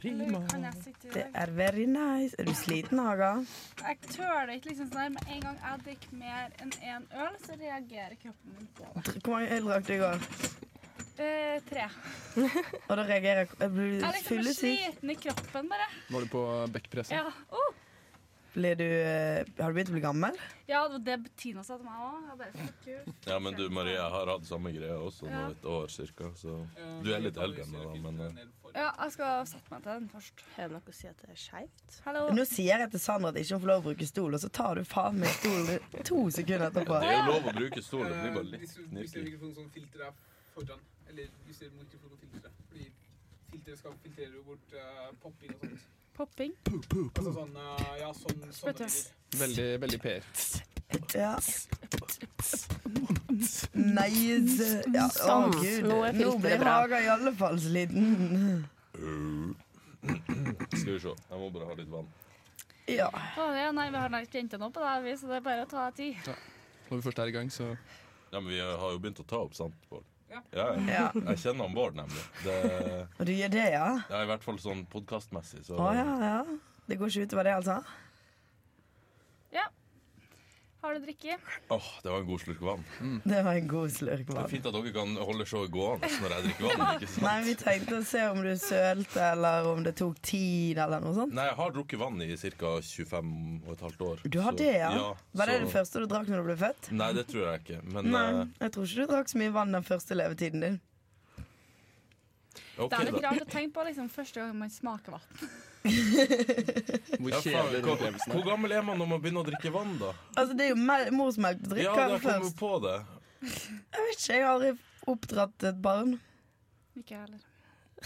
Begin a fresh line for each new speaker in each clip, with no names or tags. Prima.
Kan jeg sitte i
Det
dag?
er very nice. Er du sliten, Haga?
Jeg tøler ikke liksom sånn her. Med en gang jeg drikker mer enn én øl, så reagerer kroppen min på det.
Hvor mange øl drakk du i går?
Eh, tre.
Og da reagerer jeg Blir
Jeg
du
er liksom
fyllesyk?
sliten i kroppen, bare.
Var du på bekkpresset?
Ja, oh.
Blir du eh, Har du begynt å bli gammel?
ja det var det Bettina sa til meg òg. Jeg bare fuck you.
Ja, men du Marie, jeg har hatt samme greia også nå
Ja.
et år cirka, så du er litt eldre enn meg, da, men eh,
Ja, jeg skal sette meg til den først.
Er det noe å si at det er skeivt?
Hallo.
Nå sier jeg til Sandra at ikke hun får lov å bruke stol, og så tar du faen meg stolen to sekunder etterpå.
det er jo lov å bruke stol, det blir bare
Eh, hvis du
litt
justerer
knirking.
mikrofonen sånn filteret er foran, eller justerer mikrofonfilteret. Fordi filteret skal filtrere jo bort eh, popping og sånt.
Popping.
Altså sånn eh, Ja, sånn, sånne
Spøtter.
lyder.
Veldig, veldig PR.
Ja. Nice. Ja, å
Sånn.
gud.
Nå
Nå
er filteret
blir
bra.
Haga i alle fall sliten.
Skal vi se, jeg må bare ha litt vann.
Ja.
Å, ja, nei, vi har nært jenter nå på det her vis, så det er bare å ta tid.
Når vi først er i gang, så
Ja, men vi har jo begynt å ta opp, sant, Bård?
Ja.
Ja, ja.
ja.
Jeg kjenner han Bård, nemlig. Det
Og du gjør det, ja?
ja, I hvert fall sånn podkastmessig, så
Å ja, ja. Det går ikke utover det, altså?
Ja. Har du drikke?
Åh, det var en god slurk vann.
Det var en god slurk
Det er
vann.
fint at dere kan holde showet gående når jeg drikker vann. ikke sant?
Nei, vi tenkte å se om du sølte, eller om det tok tid, eller noe sånt.
Nei, jeg har drukket vann i ca. 25 og et halvt år.
Du har
så-
det, ja? Var det
så-
det første du drakk når du ble født?
Nei, det tror jeg ikke. Men
Nei, jeg tror ikke du drakk så mye vann den første levetiden din.
eh, OK,
Det er litt
da.
rart å tenke på liksom, første gang man smaker vann.
Hvor
Ja, faen,
kjedelig den
hvor,
opplevelsen
hvor
er.
gammel er man når man begynner å drikke vann, da?
Altså, det er jo mel- morsmelk du
Ja,
drikker
jeg kom jo
først.
på det.
Jeg vet ikke, jeg har aldri oppdratt et barn.
Ikke jeg heller.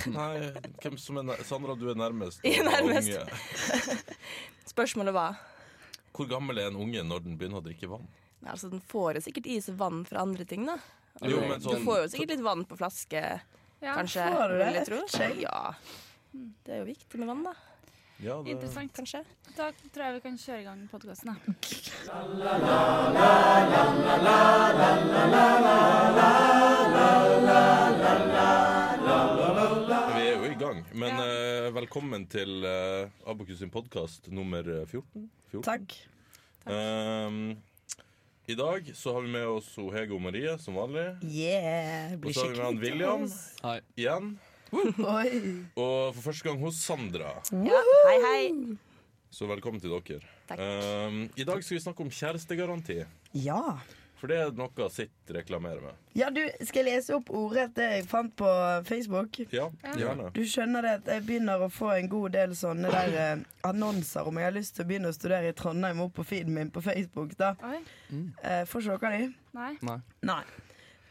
Nei, hvem som er nær- Sandra, du er nærmest.
Jeg er nærmest.
Unge.
Spørsmålet var
Hvor gammel er en unge når den begynner å drikke vann?
Nei, altså, Den får jo sikkert i seg vann fra andre ting, da. Altså,
Jo, men sånn-
Du får jo sikkert litt vann på flaske,
Ja.
kanskje.
får du det?
vil jeg tro.
Skjegg?
Ja. Det er jo viktig med vann, da.
Ja, det
Interessant.
Kanskje.
Da tror jeg vi kan kjøre i gang podkasten, da.
Vi er jo i gang. Men eh, velkommen til eh, Abokus sin podkast nummer 14. 14.
Takk.
Ehm, I dag så har vi med oss o Hege og Marie som vanlig.
Yeah. det
Og
Blir
så har vi med han
skikkelig
William
Hei.
igjen.
Oi.
Og for første gang hos Sandra.
Ja. Hei, hei.
Så velkommen til dere.
Takk.
Ehm, I dag skal vi snakke om kjærestegaranti.
Ja.
For det er noe Sitt reklamerer med.
Ja, du, skal jeg lese opp ordet det jeg fant på Facebook?
Ja, gjerne.
Du skjønner det at jeg begynner å få en god del sånne der eh, annonser om jeg har lyst til å begynne å studere i Trondheim opp på feeden min på Facebook, da.
Oi.
Eh, får ikke dere de?
Nei.
Nei.
Nei.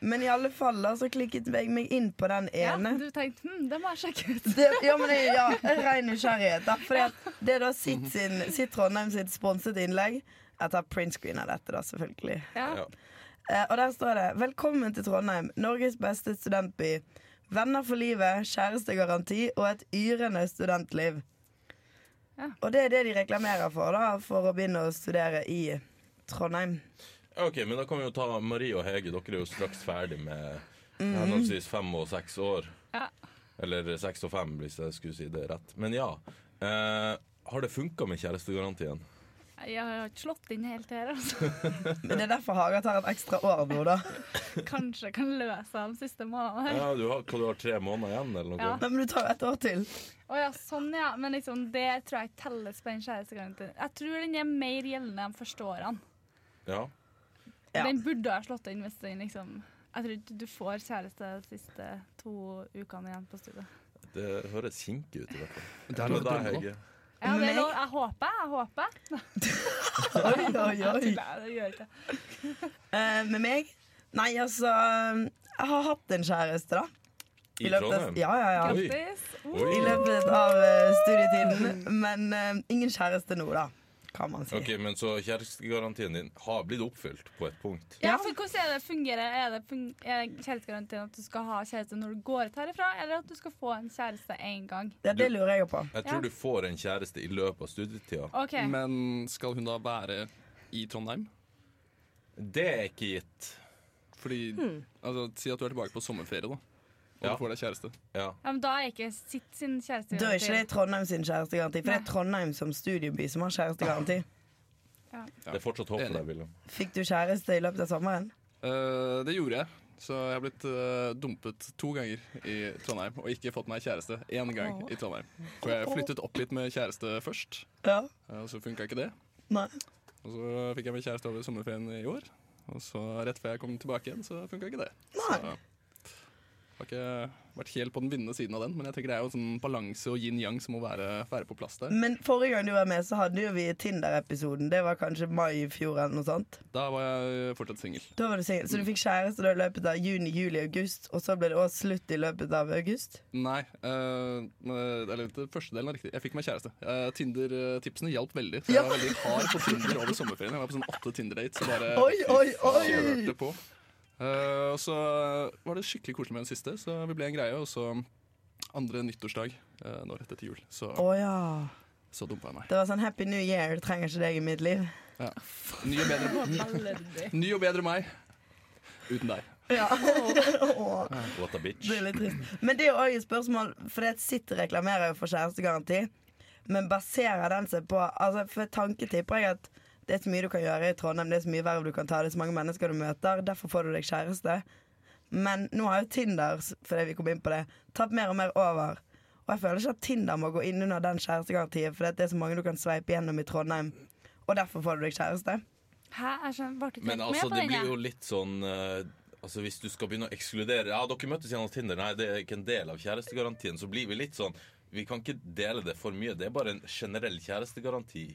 Men i alle fall, da, så klikket jeg meg inn på den
Ja,
ene.
du tenkte hm, det må jeg sjekke ut.
Det, ja, men det, ja, ren nysgjerrighet. Da, fordi at det er da sitt, sin, sitt Trondheim sitt sponset innlegg. Jeg tar printscreen av dette, da, selvfølgelig.
Ja.
Ja.
Eh, og der står det 'Velkommen til Trondheim, Norges beste studentby'. Venner for livet, kjærestegaranti og et yrende studentliv.
Ja.
Og det er det de reklamerer for, da, for å begynne å studere i Trondheim.
Ok, men da kan vi jo ta Marie og Hege. Dere er jo straks ferdig med henholdsvis fem og seks år.
Mm. Ja.
Eller seks og fem, hvis jeg skulle si det rett. Men ja. Eh, har det funka med kjærestegarantien?
Jeg har ikke slått inn helt her, altså.
Men det er derfor Haga tar et ekstra år nå, da.
Kanskje jeg kan løse de siste månedene her.
Ja, du har, hva, du har tre måneder igjen, eller noe?
Ja.
Nei, men du tar jo et år til.
Å ja, sånn ja. Men liksom, det tror jeg ikke telles på den kjærestegarantien. Jeg tror den er mer gjeldende de første årene.
Ja.
Ja.
Den burde ha slått inn hvis den liksom Jeg tror ikke du får kjæreste de siste to ukene igjen på studiet.
Det høres kinkig ut, i hvert fall.
Det er lov å
Hva med
drømme om.
deg, Hege?
Ja, det
Meg?
er lov. Jeg håper, jeg håper.
Oi, oi,
Jeg
oi.
tuller, det gjør jeg ikke.
Eh, med meg? Nei, altså Jeg har hatt en kjæreste, da.
I
løpet av-
Trondheim?
Ja, ja, ja.
Oi.
Grattis. Oh.
I
Oi.
løpet av eh, studietiden. Men eh, ingen kjæreste nå, da, kan man si.
Ok, men Så kjærestegarantien din har blitt oppfylt på et punkt?
Ja, for hvordan er det fungerer Er det fun er kjærestegarantien at du skal ha kjæreste når du går ut herifra, eller at du skal få en kjæreste én gang?
Ja, det lurer jeg jo på.
Jeg
Ja.
tror du får en kjæreste i løpet av studietida.
OK.
Men skal hun da være i Trondheim?
Det er ikke gitt.
Hmm.
Fordi, altså, Si at du er tilbake på sommerferie, da. og
Ja.
du får deg kjæreste.
Ja.
Ja, men da er ikke sitt sin kjæreste
Da er ikke det Trondheim sin kjærestegaranti, for det er
Nei.
Trondheim som studieby som har kjærestegaranti.
Det er fortsatt håp for
Enig.
deg, William.
Fikk du kjæreste i løpet av sommeren?
Eh, det gjorde jeg. Så jeg har blitt eh, dumpet to ganger i Trondheim, og ikke fått meg kjæreste én gang i Trondheim. For jeg flyttet opp hit med kjæreste først,
Ja.
eh, og så funka ikke det.
Nei.
Og så fikk jeg meg kjæreste over sommerferien i år, og så rett før jeg kom tilbake igjen, så funka ikke det.
Nei.
Så, har ikke vært helt på den vinnende siden av den, men jeg tenker det er jo en sånn balanse og yin-yang som må være, være på plass der.
Men forrige gang du var med, så hadde jo vi Tinder-episoden. Det var kanskje mai i fjor eller noe sånt.
Da var jeg fortsatt singel.
Da var du singel. Så du fikk kjæreste da i løpet av juni, juli, august, og så ble det også slutt i løpet av august?
Nei, eh, men- eller det første delen er riktig. Jeg fikk meg kjæreste. Eh, Tinder-tipsene hjalp veldig. Så jeg var veldig hard på Tinder over sommerferien. Jeg var på sånn åtte Tinder-dates og bare
Oi, oi, oi!
kjørte på. Eh, og så var det skikkelig koselig med den siste, så vi ble en greie. Og så andre nyttårsdag eh, nå rett etter jul, så,
Å ja.
så dumpa jeg meg.
Det var sånn Happy New Year, trenger ikke deg i mitt liv.
Ny og bedre, ny og bedre meg uten deg.
Ja. Åh.
What a bitch.
Det er litt trist. Men det er jo også et spørsmål, for det sitt reklamerer jo for kjærestegaranti. Men baserer den seg på altså For tanke tipper jeg at det er så mye du kan gjøre i Trondheim, det er så mye verv du kan ta, det er så mange mennesker du møter, derfor får du deg kjæreste. Men nå har jo Tinder, s- fordi vi kom inn på det, tatt mer og mer over. Og jeg føler ikke at Tinder må gå inn under den kjærestegarantien, for det er så mange du kan sveipe gjennom i Trondheim, og derfor får du deg kjæreste.
Hæ? Jeg skjønner, ble ikke
Men
helt
altså,
med på
det
den.
blir
jeg.
jo litt sånn eh, Altså, Hvis du skal begynne å ekskludere Ja, dere møttes gjennom Tinder. Nei, det er ikke en del av kjærestegarantien. Så blir vi litt sånn Vi kan ikke dele det for mye. Det er bare en generell kjærestegaranti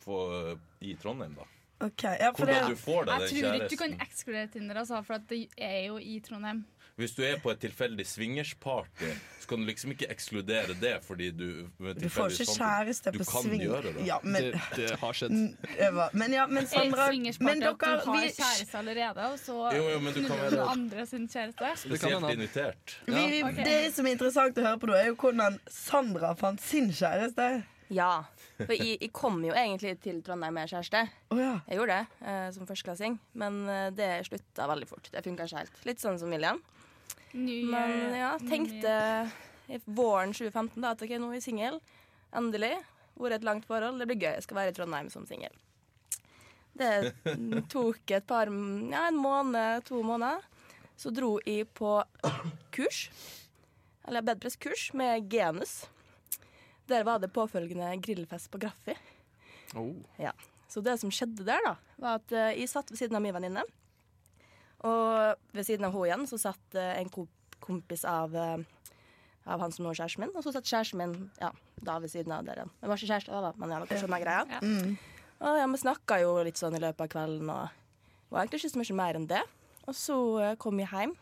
for, i Trondheim, da.
Ok, ja, for det,
Hvordan du får deg
Jeg
den
tror ikke du kan
kjæresten.
ekskludere Tinder, altså, for at det er jo i Trondheim.
Hvis du er på et tilfeldig swingersparty, så kan du liksom ikke ekskludere det fordi du
du får ikke kjæreste på sving.
sånn? Du kan gjøre det.
Ja, men,
Det, det har skjedd.
Mm, det var- Men ja, men Sandra men
Swingersparty
dere,
at du har
vi,
kjæreste allerede, og så
Jo, jo, men du kan
knuller
være-
den andre sin kjæreste.
Det kan
Spesielt
hende at-
invitert.
Ja,
vi,
ok.
Det som er interessant å høre på, da, er jo hvordan Sandra fant sin kjæreste.
Ja. For jeg, jeg kom jo egentlig til Trondheim med kjæreste.
Å ja.
Jeg gjorde det eh, som førsteklassing, men eh, det slutta veldig fort. Det funka ikke helt. Litt sånn som William.
New
Men
year,
ja,
new
tenkte
year.
i våren 2015 da at ok, nå er jeg singel. Endelig. Vært i et langt forhold. Det blir gøy. Jeg skal være i Trondheim som singel. Det tok et par ja, en måned, to måneder. Så dro jeg på kurs, eller bedpresskurs, med Genus. Der var det påfølgende grillfest på Graffi.
Oh.
Så det som skjedde der, da, var at eh, jeg satt ved siden av min venninne. Og ved siden av henne igjen så satt eh, en komp kompis av, eh, av han som nå er kjæresten min. Og så satt kjæresten min ja, da ved siden av der igjen. Vi var ikke kjærester da, da, men ja, dere skjønner greia.
Ja.
Og ja, vi snakka jo litt sånn i løpet av kvelden, og var egentlig ikke så mye mer enn det. Og så eh, kom jeg hjem,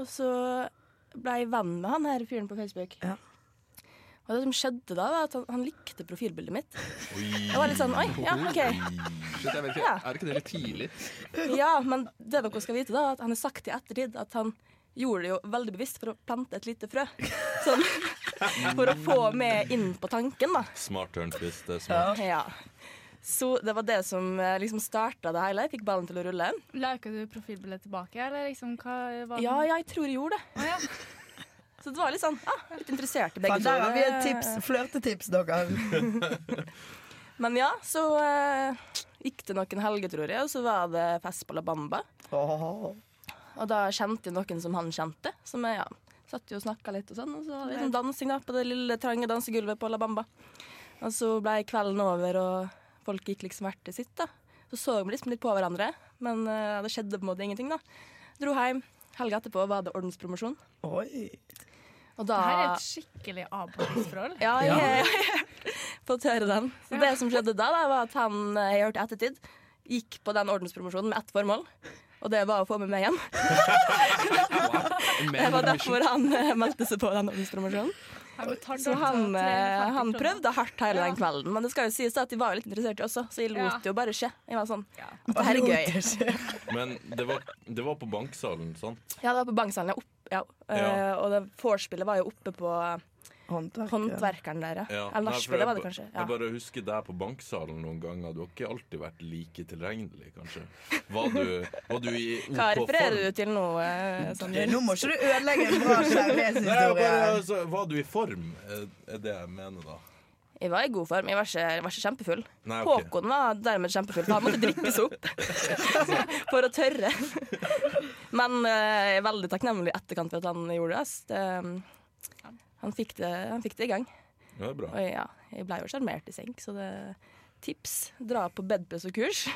og så ble jeg venn med han her fyren på Facebook.
Ja.
Og det som skjedde da, var at han, han likte profilbildet mitt. Jeg
Oi.
var litt sånn oi, ja, OK.
Shit, jeg vet ikke,
Ja.
er ikke det litt tidlig?
Ja, men det dere skal vite da er at han har sagt i ettertid at han gjorde det jo veldig bevisst for å plante et lite frø. Sånn, for å få meg inn på tanken, da.
Smart turnfist. Det er smart.
Ja.
Ja. Så det var det som eh, liksom starta det hele. Jeg fikk ballen til å rulle.
Lika du profilbildet tilbake, eller liksom hva var
Ja, ja, jeg tror jeg gjorde det.
Å, ja.
Så det var litt sånn ah, litt interessert i begge
Faen, Der har vi et
Det-
tips. Flørtetips, dere.
Men ja, så eh, gikk det noen helger, tror jeg, og så var det fest på La Bamba.
Åh.
Og da kjente jeg noen som han kjente. Som jeg, ja, satt jo og snakka litt og sånn. Og så hadde vi sånn dansing da, på det lille trange dansegulvet på La Bamba. Og så ble kvelden over, og folk gikk liksom hvert til sitt. da. Så så vi liksom litt på hverandre, men eh, det skjedde på en måte ingenting, da. Dro hjem. Helga etterpå var det ordenspromosjon.
Oi.
Og
Det
da
her er et skikkelig avbruddelsesforhold.
ja, jeg, jeg, på å tørre den. Så det som skjedde da, da, var at han, eh, jeg hørte i ettertid, gikk på den ordenspromosjonen med ett formål. Og det var å få med meg hjem. Det var derfor han eh, meldte seg på den ordenspromosjonen.
Jeg betalte
Så han,
altså
eh,
350
han
kroner.
prøvde hardt hele
Ja.
den kvelden. Men det skal jo sies da at de var jo litt interessert også, så jeg lot
Ja.
det jo bare skje. Jeg var sånn,
Ja.
at det her er gøy.
Men det var, det var på banksalen, sant?
Ja, det var på Banksalen, ja, opp, ja. Eh,
Ja.
og det vorspielet var jo oppe på eh,
Håndverkeren.
Håndverkeren der, ja.
Ja,
Eller
nei, for
nachspielet var det
ba-
kanskje.
Jeg
Ja.
bare husker deg på banksalen noen ganger. Du har ikke alltid vært like tilregnelig, kanskje. Var du, var du i OK
Hva refererer du
form?
til nå, eh, Sander?
Nå må ikke du ødelegge en bra
Nei, jeg
kjærlighetshistorie.
bare, altså, var du i form, eh, er det jeg mener, da.
Jeg var i god form. Jeg var ikke, jeg var ikke kjempefull.
Nei, ok.
Håkon var derimot kjempefull, for han måtte drikke seg opp for å tørre. Men eh, jeg er veldig takknemlig i etterkant for at han gjorde det. ass. det. Han fikk det, han fikk det i gang.
Ja, det er bra.
Og jeg- ja, jeg ble jo sjarmert i senk, så det tips. Dra på bedpress og kurs.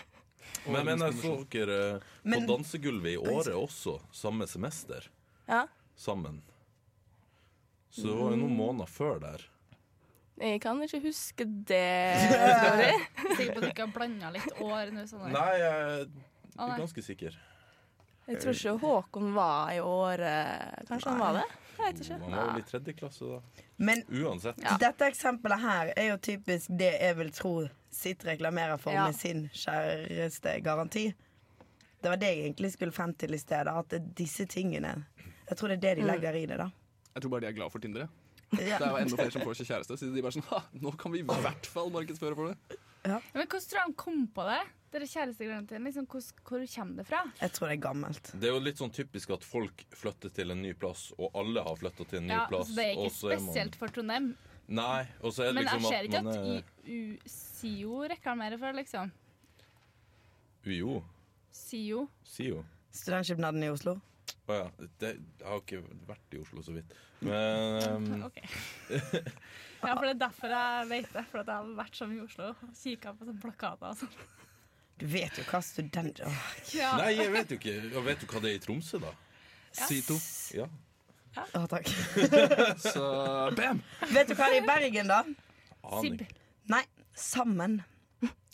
Men, men jeg så dere eh, på
Men-
dansegulvet i Åre også, samme semester.
Ja.
Sammen. Så det var jo noen måneder før der.
Jeg kan ikke huske det.
Sikker på at du ikke har blanda litt år nå? Sånn der.
Nei, jeg
Å,
er
nei.
ganske sikker.
Jeg tror ikke Håkon var i året Kanskje han var det? Jeg vet ikke.
Han var vel i tredje klasse da.
Men
Uansett.
dette eksempelet her er jo typisk det jeg vil tro sitt reklamerer for
Ja.
med sin kjærestegaranti. Det var det jeg egentlig skulle frem til i stedet. At det er disse tingene Jeg tror det er det de legger i det, da.
Jeg tror bare de er glad for Tinder. jeg.
Ja.
Det er jo enda flere som får seg kjæreste. Så de bare sånn, ha, nå kan vi i hvert fall markedsføre for det.
Men hvordan tror du de kom på det? Dere kjærestegarantien, liksom, hvor, hvor kommer det fra?
Jeg tror det er gammelt.
Det er jo litt sånn typisk at folk flytter til en ny plass, og alle har flytta til en ny
Ja,
plass.
altså, det er ikke
og så er man-
spesielt for Trondheim.
Nei, og så er det
Men jeg
liksom
ser ikke
at man
at
er
IU SIO reklamerer for det, liksom.
Jo,
SIO.
si jo.
Studentskipnaden i Oslo.
Å ja. Det, jeg har ikke vært i Oslo så vidt. Men um,
OK. Ja, for det er derfor jeg vet det. For at jeg har vært så mye i Oslo og kikka på sånne plakater og sånn.
Du vet jo hva student... Åh.
Ja.
Nei, jeg vet jo ikke. Jeg vet jo hva det er i Tromsø, da.
Sito.
Ja.
Å, takk.
Så bam!
Vet du hva det er i Bergen, da?
Aner
Sib.
ikke.
Nei, Sammen.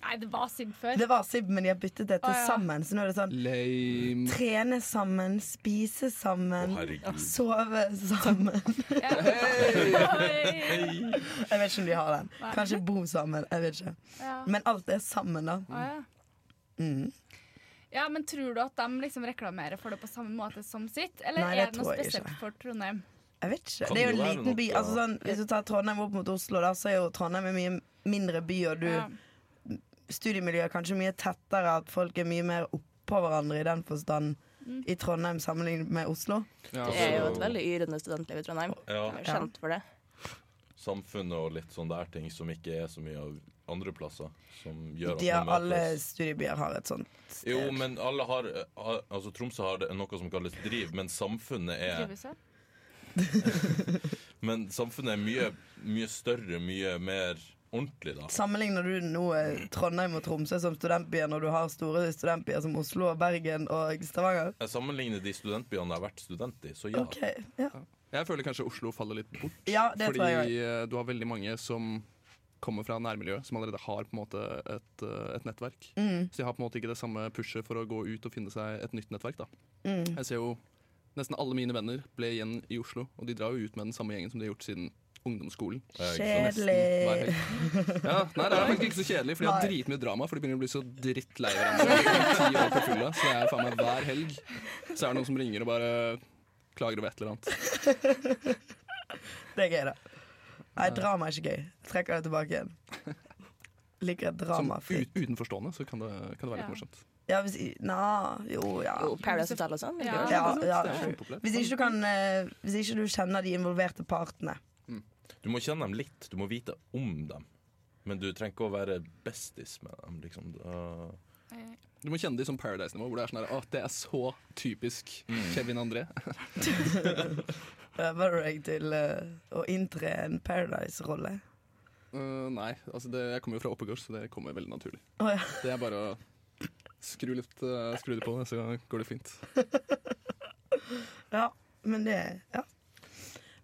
Nei, det var Sib før.
Det var Sib, men de har byttet det til
Å, ja.
Sammen. Så nå er det sånn
Lame.
Trene sammen, spise sammen,
Å, herregud.
sove sammen.
Ja. Oi.
Jeg vet ikke om de har den.
Nei.
Kanskje bo sammen. jeg vet ikke
Ja.
Men alt er sammen, da.
Å, ja.
Mm.
Ja, men tror du at de liksom reklamerer for det på samme måte som sitt? Eller
Nei, det
er det noe
tror jeg
spesielt
ikke.
for Trondheim?
Jeg vet ikke.
Kan
Det er
det
jo en
være
liten by.
noe-
Altså sånn, Hvis du tar Trondheim opp mot Oslo, da, så er jo Trondheim en mye mindre by, og du
Ja.
studiemiljøet er kanskje mye tettere, at folk er mye mer oppå hverandre i den forstand
Mm.
i Trondheim sammenlignet med Oslo.
Ja,
Det er jo et veldig yrende studentliv i Trondheim.
Ja.
Jeg er jo kjent for det.
Samfunnet og litt sånn der ting som ikke er så mye av andre plasser. Som gjør at
De har,
man
alle
møtes.
studiebyer har et sånt sted.
Jo, men alle har har- Altså Tromsø har det- noe som kalles driv, men samfunnet er
Drivhuset?
Men samfunnet er mye, mye større, mye mer ordentlig, da.
Sammenligner du nå eh, Trondheim og Tromsø som studentbyer når du har store studentbyer som Oslo og Bergen og Stavanger?
Jeg sammenligner de studentbyene jeg har vært student i, så ja.
Ok, ja.
Jeg føler kanskje Oslo faller litt bort.
ja det
fordi
tror jeg.
eh, du har veldig mange som kommer fra nærmiljøet, som allerede har på en måte et, eh, et nettverk.
Mm,
Så de har på en måte ikke det samme pushet for å gå ut og finne seg et nytt nettverk. da.
mm.
Jeg ser jo Nesten alle mine venner ble igjen i Oslo, og de drar jo ut med den samme gjengen som de har gjort siden ungdomsskolen.
Eh, ikke sant?
Nesten
Kjedelig.
hver helg. Ja, nei, det er faktisk ikke så kjedelig, for de har
Nei.
dritmye drama. For de begynner å bli så drittlei hverandre. Ti år på fylla, Så det er faen meg hver helg Så er det noen som ringer og bare klager over et eller annet.
Det er gøy, da. Nei, drama er ikke gøy. Jeg trekker det tilbake igjen. Liker et
Som
drama fritt.
ut, utenforstående så kan det, kan det være
Ja.
litt morsomt.
Ja, hvis i- Nå, jo, ja.
Jo, Paradise Hotel og sånn. det er
Ja.
Ja,
gøy.
ja.
Altså, Det er kjempepopulært.
Hvis ikke du kan eh, Hvis ikke du kjenner de involverte partene.
Du må kjenne dem litt, du må vite om dem. Men du trenger ikke å være bestis med dem. Liksom. Da-
Du må kjenne de som Paradise-nivå, hvor det er sånn her Å, det er så typisk Kevin André.
Øver du deg til eh, å inntre en Paradise-rolle?
Eh, nei, altså det, jeg kommer jo fra Oppegård, så det kommer veldig naturlig.
Å ja.
Det er bare å skru, litt, eh, skru det på, så går det fint.
ja. Men det Ja.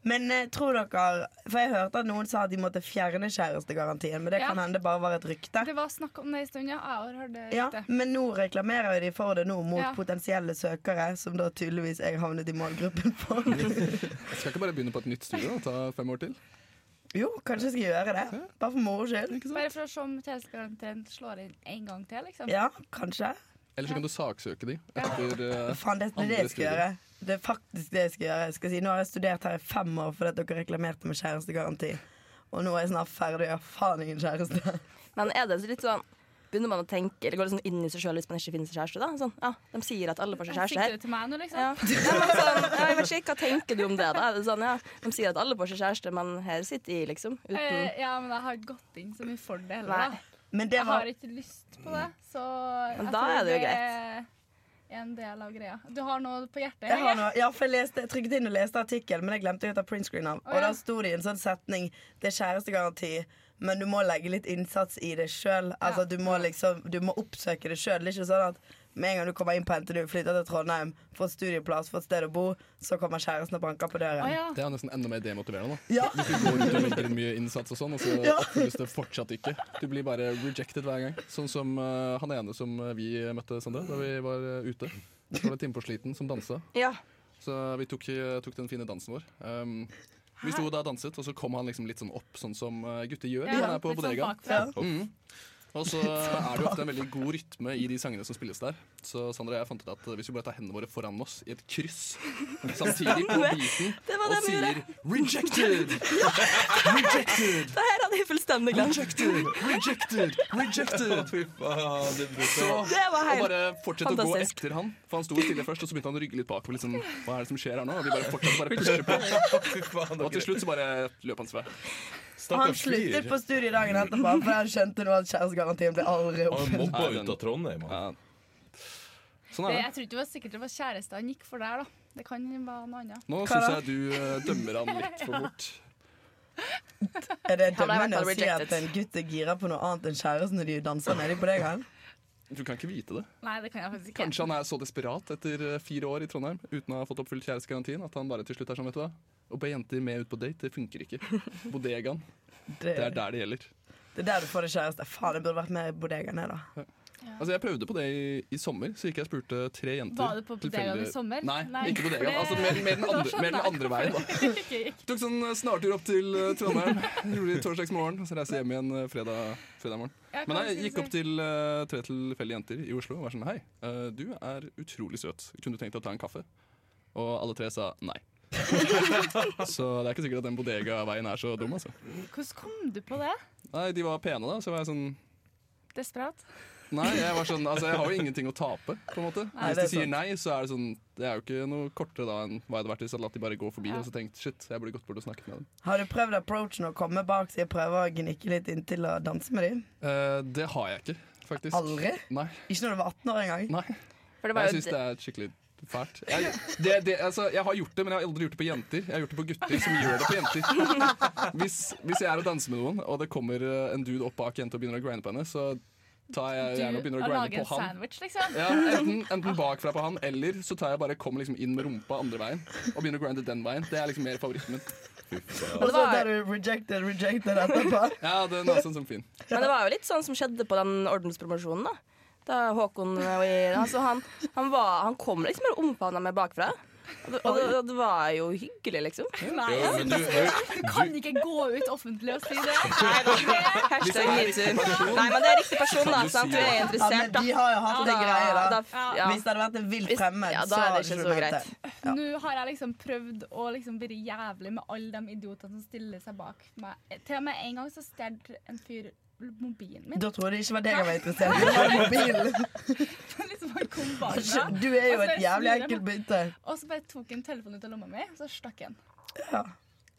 Men eh, tror dere For jeg hørte at noen sa at de måtte fjerne kjærestegarantien, men det
Ja.
kan hende det bare var et rykte.
Det var snakk om det en stund, ja. Jeg har hørt det
Ja,
riktig.
Men nå reklamerer jo de for det nå mot
Ja.
potensielle søkere, som da tydeligvis jeg havnet i målgruppen for.
Jeg skal ikke bare begynne på et nytt studio og ta fem år til?
jo, kanskje jeg skal gjøre det. Bare for moro skyld.
Ikke sant?
Bare for å se om tjenestegarantien slår inn en gang til, liksom.
Ja, kanskje.
Eller så kan du saksøke de etter eh,
Faen, det er det
Andre
jeg skal
studier.
gjøre. det er faktisk det jeg skal gjøre. Jeg skal si, Nå har jeg studert her i fem år fordi at dere reklamerte med kjærestegaranti. Og nå er jeg snart ferdig, og jeg har faen ingen kjæreste.
Men er det litt sånn Begynner man å tenke, eller går det sånn inn i seg sjøl hvis man ikke finner seg kjæreste? da? Sånn, ja, De sier at alle får seg
Jeg
kjæreste
sikter
her.
det til meg nå, liksom.
Ja. Ja, men sånn, ja, jeg vet ikke, Hva tenker du om det? da? Er det sånn, ja, De sier at alle får seg kjæreste, men her sitter jeg, liksom. Uten
Eh, ja, men jeg har ikke gått inn så mye for det heller.
Nei.
da.
Men det
Jeg
var Mm.
har ikke lyst på det, så
Men
jeg
da
tror
er det jo
er En del av greia. Du har noe på hjertet?
Jeg har
Hege?
noe, ja, for jeg, leste, jeg trykket inn og leste artikkel, men jeg glemte å ta printscreen av.
Å,
Og
ja.
da sto det i en sånn setning Det er kjærestegaranti, men du må legge litt innsats i det sjøl. Altså, du må liksom Du må oppsøke det sjøl. Det er ikke sånn at med en gang du kommer inn på NTNU, flytter til Trondheim, får studieplass, får et sted å bo, så kommer kjæresten og banker på døren.
Å, ja.
Det er jo nesten enda mer demotiverende. da.
Ja.
Hvis du går rundt og legger inn mye innsats, og sånn, og så
Ja.
oppfylles det fortsatt ikke. Du blir bare rejected hver gang. Sånn som eh, han ene som eh, vi møtte, Sandra, da vi var eh, ute. Så var det Timme på Sliten som dansa.
Ja.
Så vi tok, eh, tok den fine dansen vår. Um, vi sto da og danset, og så kom han liksom litt sånn opp, sånn som eh, gutter gjør når man er på
litt sånn
bodegaen.
bakfra.
Og så er det jo ofte en veldig god rytme i de sangene som spilles der. Så Sandra og jeg fant ut at hvis vi bare tar hendene våre foran oss i et kryss samtidig på beaten
Det var
og
det vi
sier
gjorde.
'rejected', 'rejected',
Det her hadde jeg fullstendig glemt.
'rejected', 'rejected', 'rejected'.
Fy faen, det burde
Så,
Det var
og
helt
bare fortsette å gå
fantastisk.
etter han, for han sto stille først, og så begynte han å rygge litt bakover. Liksom, hva er det som skjer her nå? Og vi bare fortsatte bare å pushe på.
Fy faen,
Og til
dere.
slutt så bare løp hans vei.
Og han
Stakkars
sluttet
fyr.
på studiet dagen etterpå, for han skjønte nå at kjærestegarantien ble aldri
Han
oppfylt.
mobba ut av Trondheim. Han.
Ja. Sånn
Det,
er det.
jeg tror ikke det var sikkert det var kjæreste han gikk for der, da. Det kan være noe annet.
Nå
Hva
syns
da?
jeg du eh, dømmer han litt for bort.
Er det
Han har i hvert
dømmende
fall
å si at
rejected.
en gutt er gira på noe annet enn kjæresten når de danser nede på deg? han?
Du kan ikke vite det.
Nei, det kan jeg faktisk ikke.
Kanskje han er så desperat etter eh, fire år i Trondheim uten å ha fått oppfylt kjærestegarantien at han bare til slutt er sånn, vet du hva. Å be jenter med ut på date, det funker ikke. Bodegaen,
Det,
det er der det gjelder.
det er der du får det kjæreste. Faen, det burde vært mer i bodegaen her, da.
Altså Jeg prøvde på det i, i sommer, så gikk jeg og spurte tre jenter.
Var du på bodegaen i
tilfeldig-
sommer?
Nei,
Nei,
ikke bodegaen.
for det-
Altså mer, mer, den
Da
andre, mer den
skjønner
andre veien. da
Ikke gikk.
Tok sånn eh, snartur opp til eh, Trondheim, gjorde det torsdags morgen, og så reiste jeg hjem igjen eh, fredag, fredag morgen.
Ja, hva
Men jeg
skulle
gikk
du
opp
si?
til eh, tre tilfeldige jenter i Oslo og var sånn Hei, eh, du er utrolig søt. Kunne du tenkt deg å ta en kaffe? Og alle tre sa nei. så det er ikke sikkert at den bodega-veien er så dum, altså.
Hvordan kom du på det?
Nei, de var pene, da, så var jeg sånn
Desperat?
Nei, jeg var sånn Altså, jeg har jo ingenting å tape, på en måte.
Nei,
Hvis de
det er
sier
sant.
nei, så er det sånn Det er jo ikke noe kortere da enn hva jeg hadde vært hvis jeg hadde latt de bare gå forbi
Ja.
og så tenkt shit, jeg burde gått bort og snakket med dem.
Har du prøvd approachen å komme bak så jeg prøver å gnikke litt inntil og danse med dem?
Eh, det har jeg ikke, faktisk.
Aldri?
Nei.
Ikke når du var 18 år engang?
nei.
For det var
Jeg
jo
syns det er skikkelig fælt. Jeg, det, det, altså, jeg har gjort det, men jeg har aldri gjort det på jenter. Jeg har gjort det på gutter som gjør det på jenter. Hvis, hvis jeg er og danser med noen, og det kommer eh, en dude opp bak jenta og begynner å grinde på henne, så tar jeg gjerne og begynner å
lage
grinde
en
på han.
sandwich, liksom.
Ja, enten, enten bakfra på han, eller så tar jeg bare kommer liksom inn med rumpa andre veien og begynner å grinde den veien. Det er liksom mer favoritten min.
Og så
var-
sånn der du rejected, rejected etterpå?
Ja, den er sånn som fin.
Men det var jo litt sånn som skjedde på den ordenspromosjonen, da. Da Håkon og jeg, altså han, han, var, han kom liksom og omfavna meg bakfra. Og det, og, det, og det var jo hyggelig, liksom.
Nei,
Jo, men du, du,
du kan ikke gå ut offentlig og si det.
Hashtag metoo. Nei, men det er riktig person, da. Sant? Du er
Ja, men
interessert, da.
de har jo hatt det greia, da.
da- ja.
Hvis det hadde vært en vilt
Hvis-
fremmed,
ja, da
så
er
hadde
det ikke
du
så
ment
greit.
det.
Nå har jeg liksom prøvd å liksom være jævlig med alle de idiotene som stiller seg bak meg. Til og med en gang så stjal en fyr mobilen min.
Da tror jeg det ikke var deg jeg var interessert i. Det var mobilen.
liksom han kom bakfra.
Du er jo
Og
Altså,
så
et jævlig
snur jeg
enkelt
meg,
bytte.
Og så bare tok han telefonen ut av lomma mi, så stakk han.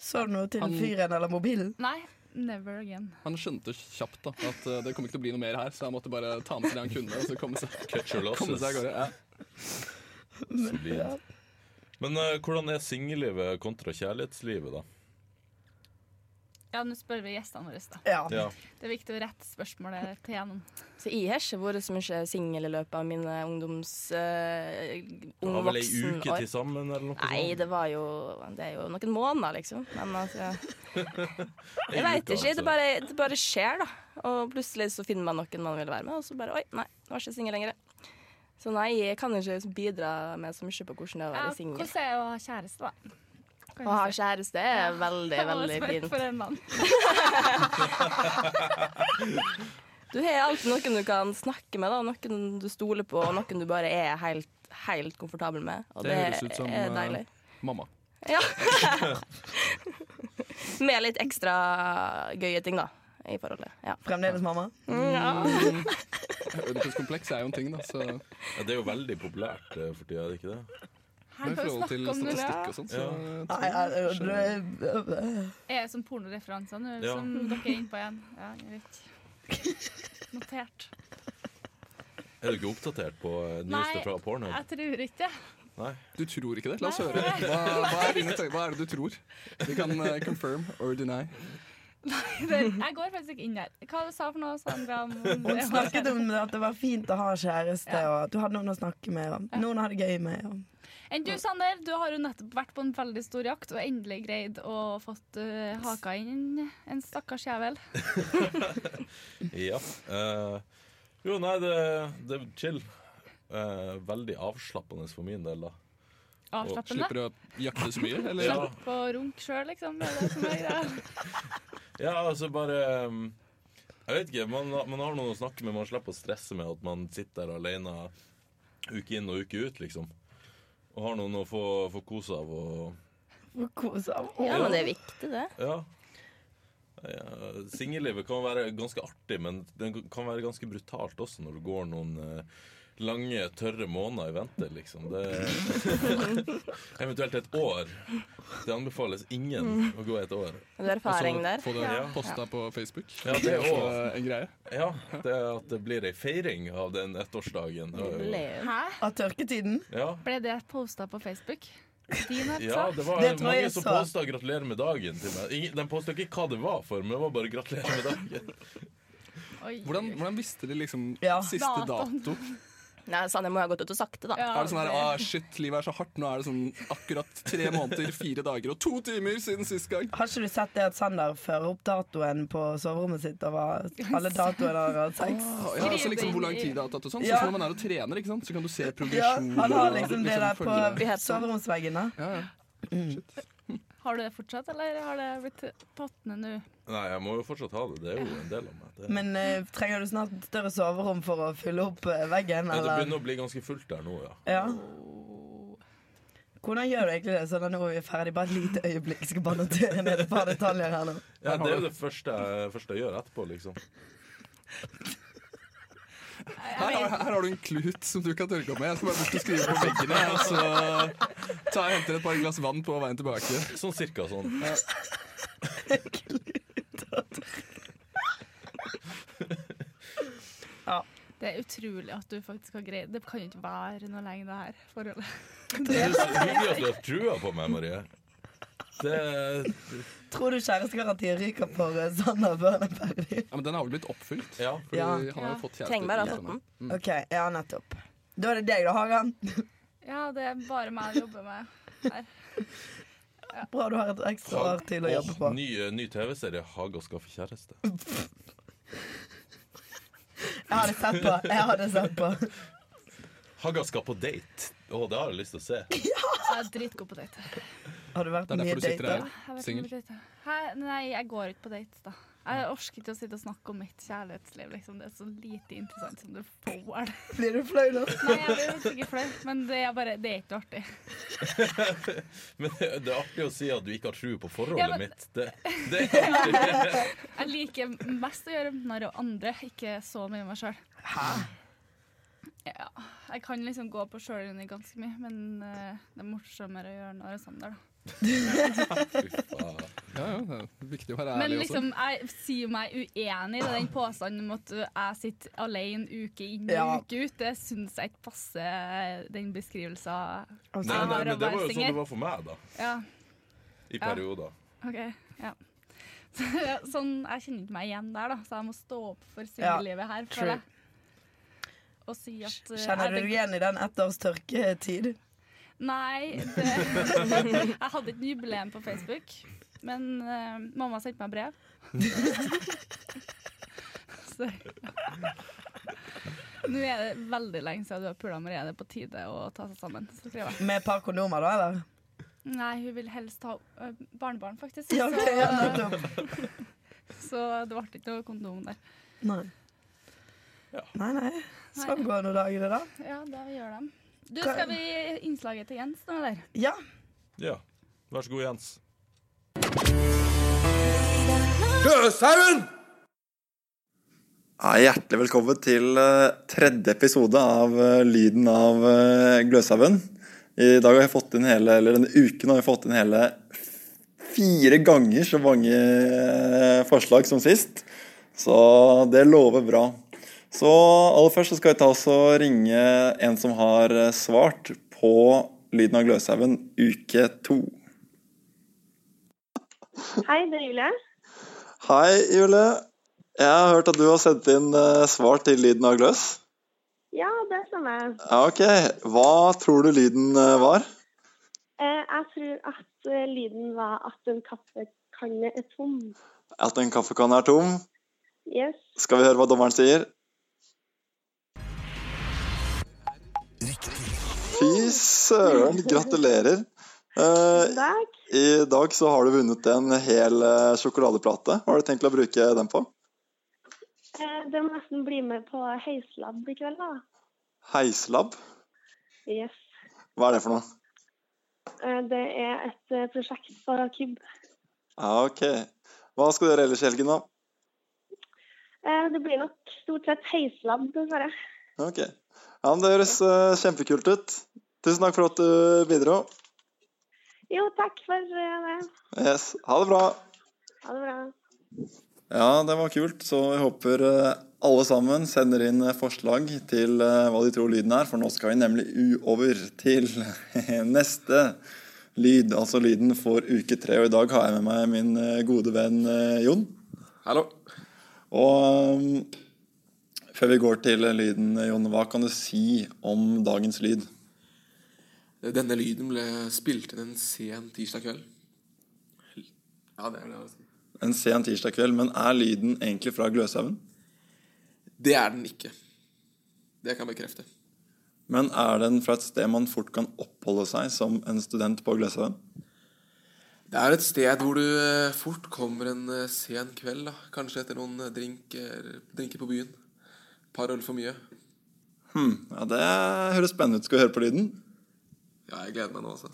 Så du noe til
Han-
fyren eller mobilen?
Nei, never again.
Han skjønte kjapt da at eh, det kom ikke til å bli noe mer her, så han måtte bare ta med seg det han kunne, og så komme seg,
catch your
komme seg av
losses.
gårde. Ja.
Solid. Men eh, hvordan er singellivet kontra kjærlighetslivet, da?
Ja, nå spør vi gjestene våre, da.
Ja.
Ja.
Det er viktig å rette spørsmålet til gjennom.
Så jeg har ikke vært så mye singel i løpet av mine ungdoms... Uh,
Det var vel ei uke
ungvoksenår.
til sammen, eller noe
Nei, det var jo Det er jo noen måneder, liksom. Men altså Jeg veit ikke. Det bare, det bare skjer, da. Og plutselig så finner man noen man vil være med, og så bare Oi, nei, nå er jeg ikke singel lenger. Så nei, jeg kan ikke liksom bidra med så mye på hvordan det er å
Ja,
være
hvordan
singel.
er det å ha kjæreste, da? Kan
Å ha
du si?
kjæreste er veldig,
Jeg har
veldig
respekt
fint.
For en mann.
Du har alltid noen du kan snakke med, da. noen du stoler på, og noen du bare er helt helt komfortabel med, og
Det
det,
høres ut som,
er
eh,
deilig.
Mamma.
Ja. med litt ekstra gøye ting, da, i forholdet. Ja.
Fremdeles mamma.
Ødipuskompleks er jo en ting, da. Så det
Ja, det er jo veldig populært eh, for tida, er det ikke det?
Her
er
kan
i
vi
forhold til
snakke om det.
statistikk og sånt. Så
Nei, jeg- jeg-
Er det som pornoreferanser nå,
Ja.
som dere er innpå igjen? Ja, greit. Notert.
Er du ikke oppdatert på eh,
Nei.
nyeste fra Pornhub?
Jeg tror ikke det.
Nei.
du tror ikke det? La oss høre. Hva, hva, er, dine, tanker? hva er det du tror? Vi kan eh, confirm or deny.
Jeg går faktisk ikke inn der. Hva du sa for noe, Sandra? om det
Hun
var-
snakket om det, at det var fint å ha kjæreste,
Ja.
og at du hadde noen å snakke med. Og noen å ha det gøy med. Og.
Enn du, Sander, du har jo nettopp vært på en veldig stor jakt og endelig greid å fått eh, haka inn en stakkars jævel.
Ja. eh, jo, nei, det, det er chill. Eh, veldig avslappende for min del, da.
Avslappende.
Slipper å jakte så mye, eller?
Ja.
Slapp å runke sjøl, liksom. Er det som er greia?
Ja, altså bare um, Jeg vet ikke, man, man har noen å snakke med Man slipper å stresse med at man sitter der alene Uke inn og uke ut liksom Og har noen å få, få kos av og,
Og kose av.
ja, men det er viktig, det.
Ja ja, Singellivet kan være ganske artig Men det kan være ganske brutalt også Når det går noen eh, lange, tørre måneder i vente liksom. det, Eventuelt et år Det anbefales ingen å gå et år
Har du erfaring der?
få det
Ja.
posta på Facebook.
Ja, det er
også
også-
en greie.
Ja, det er at det blir ei feiring av den ettårsdagen.
Jubileum.
Hæ?
Av tørketiden.
Ja,
Ble det posta på Facebook? Din
ja,
altså?
det var
Det tror
mange
jeg
som
så.
posta 'gratulerer med dagen' til meg. Ingen, de posta ikke hva det var for, men det var bare 'gratulerer med dagen'.
Oi.
Hvordan, hvordan visste de liksom
Ja.
siste
Datoen.
dato?
Nei, Sanne må ha gått ut og sagt det, da.
Ja,
Er det sånn her,
det-
ah shit, livet er så hardt, nå er det sånn akkurat tre måneder, fire dager og to timer siden sist gang. Ah,
Har ikke du sett det at Sander fører opp datoen på soverommet sitt over alle datoene han har hatt sex?
Ah, Ja, altså liksom hvor lang tid det har tatt og sånn. Så
Ja.
når man er og trener, ikke sant, så kan du se
Ja,
progresjon.
han har
og
liksom det der
liksom følge-
på soveromsveggene.
Ja, ja.
Har du det fortsatt, eller har det blitt pottene nå?
Nei, jeg må jo fortsatt ha det. Det er jo en del av meg. Det,
Men eh, trenger du snart større soverom for å fylle opp eh, veggen,
Nei, det
eller?
begynner å bli ganske fullt der nå, ja.
Ja. Hvordan gjør du egentlig det? Sånn at nå er vi ferdig, bare et lite øyeblikk. Jeg skal bare notere ned et par detaljer her nå.
ja det er jo det første, jeg- første jeg gjør etterpå, liksom.
Her, har- her har du en klut som du kan tørke opp med. Jeg skal bare bort og skrive på veggene, og så ta og henter et par glass vann på veien tilbake.
Sånn cirka sånn.
Det er utrolig at du faktisk har greid Det kan jo ikke være noe lenge, det her forholdet.
Det er så hyggelig at du har trua på meg, Marie. Det
Tror du kjærestegarantien ryker for eh, Sander før han er ferdig?
Ja, men den har vel blitt oppfylt?
Ja.
Fordi
Ja.
han har
Ja.
jo fått kjæreste.
Trenger bare å
i
ha fått den.
Mm.
OK, ja, nettopp. Da er det deg, da, Hagan.
Ja, det er bare meg å jobbe med.
Bra du har et ekstra år til å jobbe på.
Åh, ny ny TV-serie 'Haga skaffer kjæreste'.
Jeg hadde sett på. Jeg hadde sett på.
Haga skal på date. Å, det har jeg lyst til å se.
Jeg er dritgod på date.
Har du vært
Det er
på mye
derfor du sitter
dater?
her.
Jeg vet
Singel?
ikke om jeg date. Hæ? Nei, jeg går ikke på dates, da. Jeg orker ikke å sitte og snakke om mitt kjærlighetsliv. Liksom. Det er så lite interessant som du får det.
Blir du flau nå?
Nei, jeg blir sikkert flau, men det er, bare, det er ikke noe artig.
Men det det er artig å si at du ikke har tro på forholdet
Ja, men-
mitt. Det, det er artig.
Jeg liker mest å gjøre narr av andre, ikke så mye meg sjøl. Ja, jeg kan liksom gå på sjøllinje ganske mye, men eh, det er morsommere å gjøre narr av Sander, da.
Fy faen.
Ja, ja, det er viktig å være
Men
ærlig
liksom, jeg sier meg uenig i den påstanden om at ø, jeg sitter alene uke inn og
Ja.
uke ut. Det syns jeg ikke passer den beskrivelsen. Ja,
Nei, nei,
det
men det
var
var jo sånn
singer.
det var for meg, da.
Ja,
I
Ja.
perioder.
OK. Ja. Sånn, jeg kjenner ikke meg igjen der, da, så jeg må stå opp for
Ja,
singellivet her,
true.
føler jeg. Og si at ø,
Kjenner du deg
jeg tenker-
igjen i den ett års tørketid?
Nei. Det, jeg hadde ikke jubileum på Facebook, men ø, mamma sendte meg brev. Så Nå er det veldig lenge siden du har pula Marie. Det er på tide å ta seg sammen. Så skriver jeg.
Med et par kondomer, da, eller?
Nei, hun vil helst ha ø, barnebarn, faktisk.
Ja, ok, ja,
så,
nettopp.
så det ble ikke noe kondom der.
Nei.
Ja.
Nei, nei. Sånn går nå dagene, da.
Ja, det gjør de. Du, skal vi innslaget til Jens nå, eller?
Ja.
Ja. Vær så god, Jens.
Ja, hjertelig velkommen til eh, tredje episode av eh, Lyden av eh, Gløshaugen. I dag har jeg fått inn hele, eller denne uken har jeg fått inn hele fire ganger så mange eh, forslag som sist. Så det lover bra. Så aller først så skal jeg ta oss og ringe en som har eh, svart på Lyden av Gløshaugen uke to.
Hei, det er Julie.
Hei, Jule. Jeg har hørt at du har sendt inn eh, svar til Lyden av Gløs.
Ja, det stemmer.
Ja, Ok. Hva tror du lyden eh, var?
Eh, jeg tror at eh, lyden var at en kaffekanne er tom.
At en kaffekanne er tom?
Yes.
Skal vi høre hva dommeren sier? Fy søren, gratulerer. Eh,
Takk.
I dag så har du vunnet en hel eh, sjokoladeplate. Hva har du tenkt å bruke den på?
Eh, det må nesten bli med på heislab i kveld, da.
Heislab?
Yes.
Hva er det for noe?
Eh, det er et eh, prosjekt på KYB.
Ja, ok. Hva skal du gjøre ellers i helgen, da?
Eh, det blir nok stort sett heislab, dessverre.
Ok. Ja, men Det høres eh, kjempekult ut. Tusen takk for at du bidro.
Jo, takk for eh, det.
Yes. Ha det bra.
Ha det bra.
Ja, det var kult. Så jeg håper eh, alle sammen sender inn eh, forslag til eh, hva de tror lyden er, for nå skal vi nemlig u- over til neste lyd. Altså lyden for uke tre, og i dag har jeg med meg min eh, gode venn eh, Jon. Hallo. Og um, før vi går til eh, lyden, eh, Jon, hva kan du si om dagens lyd?
Denne lyden ble spilt inn en sen tirsdag kveld. Ja, det er det. altså.
En sen tirsdag kveld, men er lyden egentlig fra Gløshaugen?
Det er den ikke. Det kan jeg bekrefte.
Men er den fra et sted man fort kan oppholde seg som en student på Gløshaugen?
Det er et sted hvor du eh, fort kommer en eh, sen kveld, da. Kanskje etter noen eh, drinker, drinker på byen. Par øl for mye.
Hmm, ja, det høres spennende ut. Skal vi høre på lyden?
Ja, jeg gleder meg nå, altså.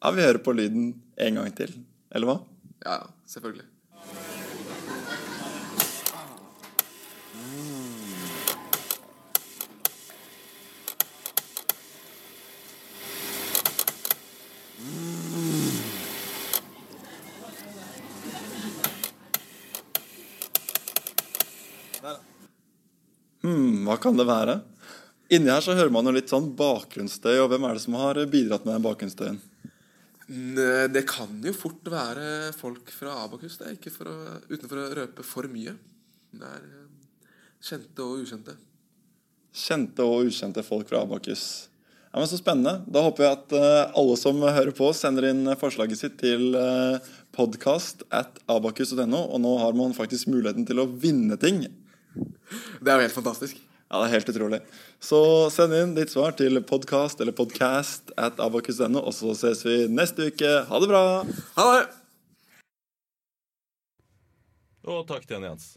Ja, vi hører på lyden en gang til. Eller hva?
Ja, ja, selvfølgelig.
Hmm, hva kan det være? Inni her så hører man jo litt sånn bakgrunnsstøy, og hvem er det som har bidratt med den bakgrunnsstøyen?
N- Det kan jo fort være folk fra Abakus, det. er Ikke for å, utenfor å røpe for mye. Det er eh, kjente og ukjente.
Kjente og ukjente folk fra Abakus. Ja, men Så spennende. Da håper jeg at eh, alle som hører på, sender inn eh, forslaget sitt til uh, podkast at abakus.no, og nå har man faktisk muligheten til å vinne ting.
Det er jo helt fantastisk.
Ja, det er helt utrolig. Så send inn ditt svar til podkast eller podcast at abakus.no, og så ses vi neste uke. Ha det bra!
Ha det!
Og takk til en Jens.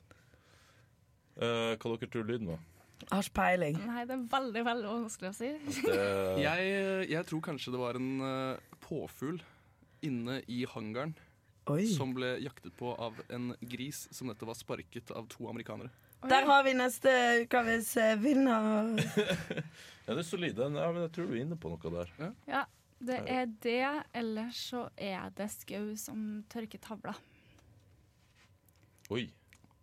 Eh, hva dere tror lyden var?
Jeg har ikke peiling.
Nei, det er veldig, veldig vanskelig å si.
Det-
Jeg, jeg tror kanskje det var en eh, påfugl inne i hangaren
Oi.
som ble jaktet på av en gris som dette var sparket av to amerikanere.
Der har vi neste ukas eh, vinner.
Ja, det er solid. Den- Ja, men jeg tror du er inne på noe der.
Ja, det er det, eller så er det Skau som tørker tavla.
Oi.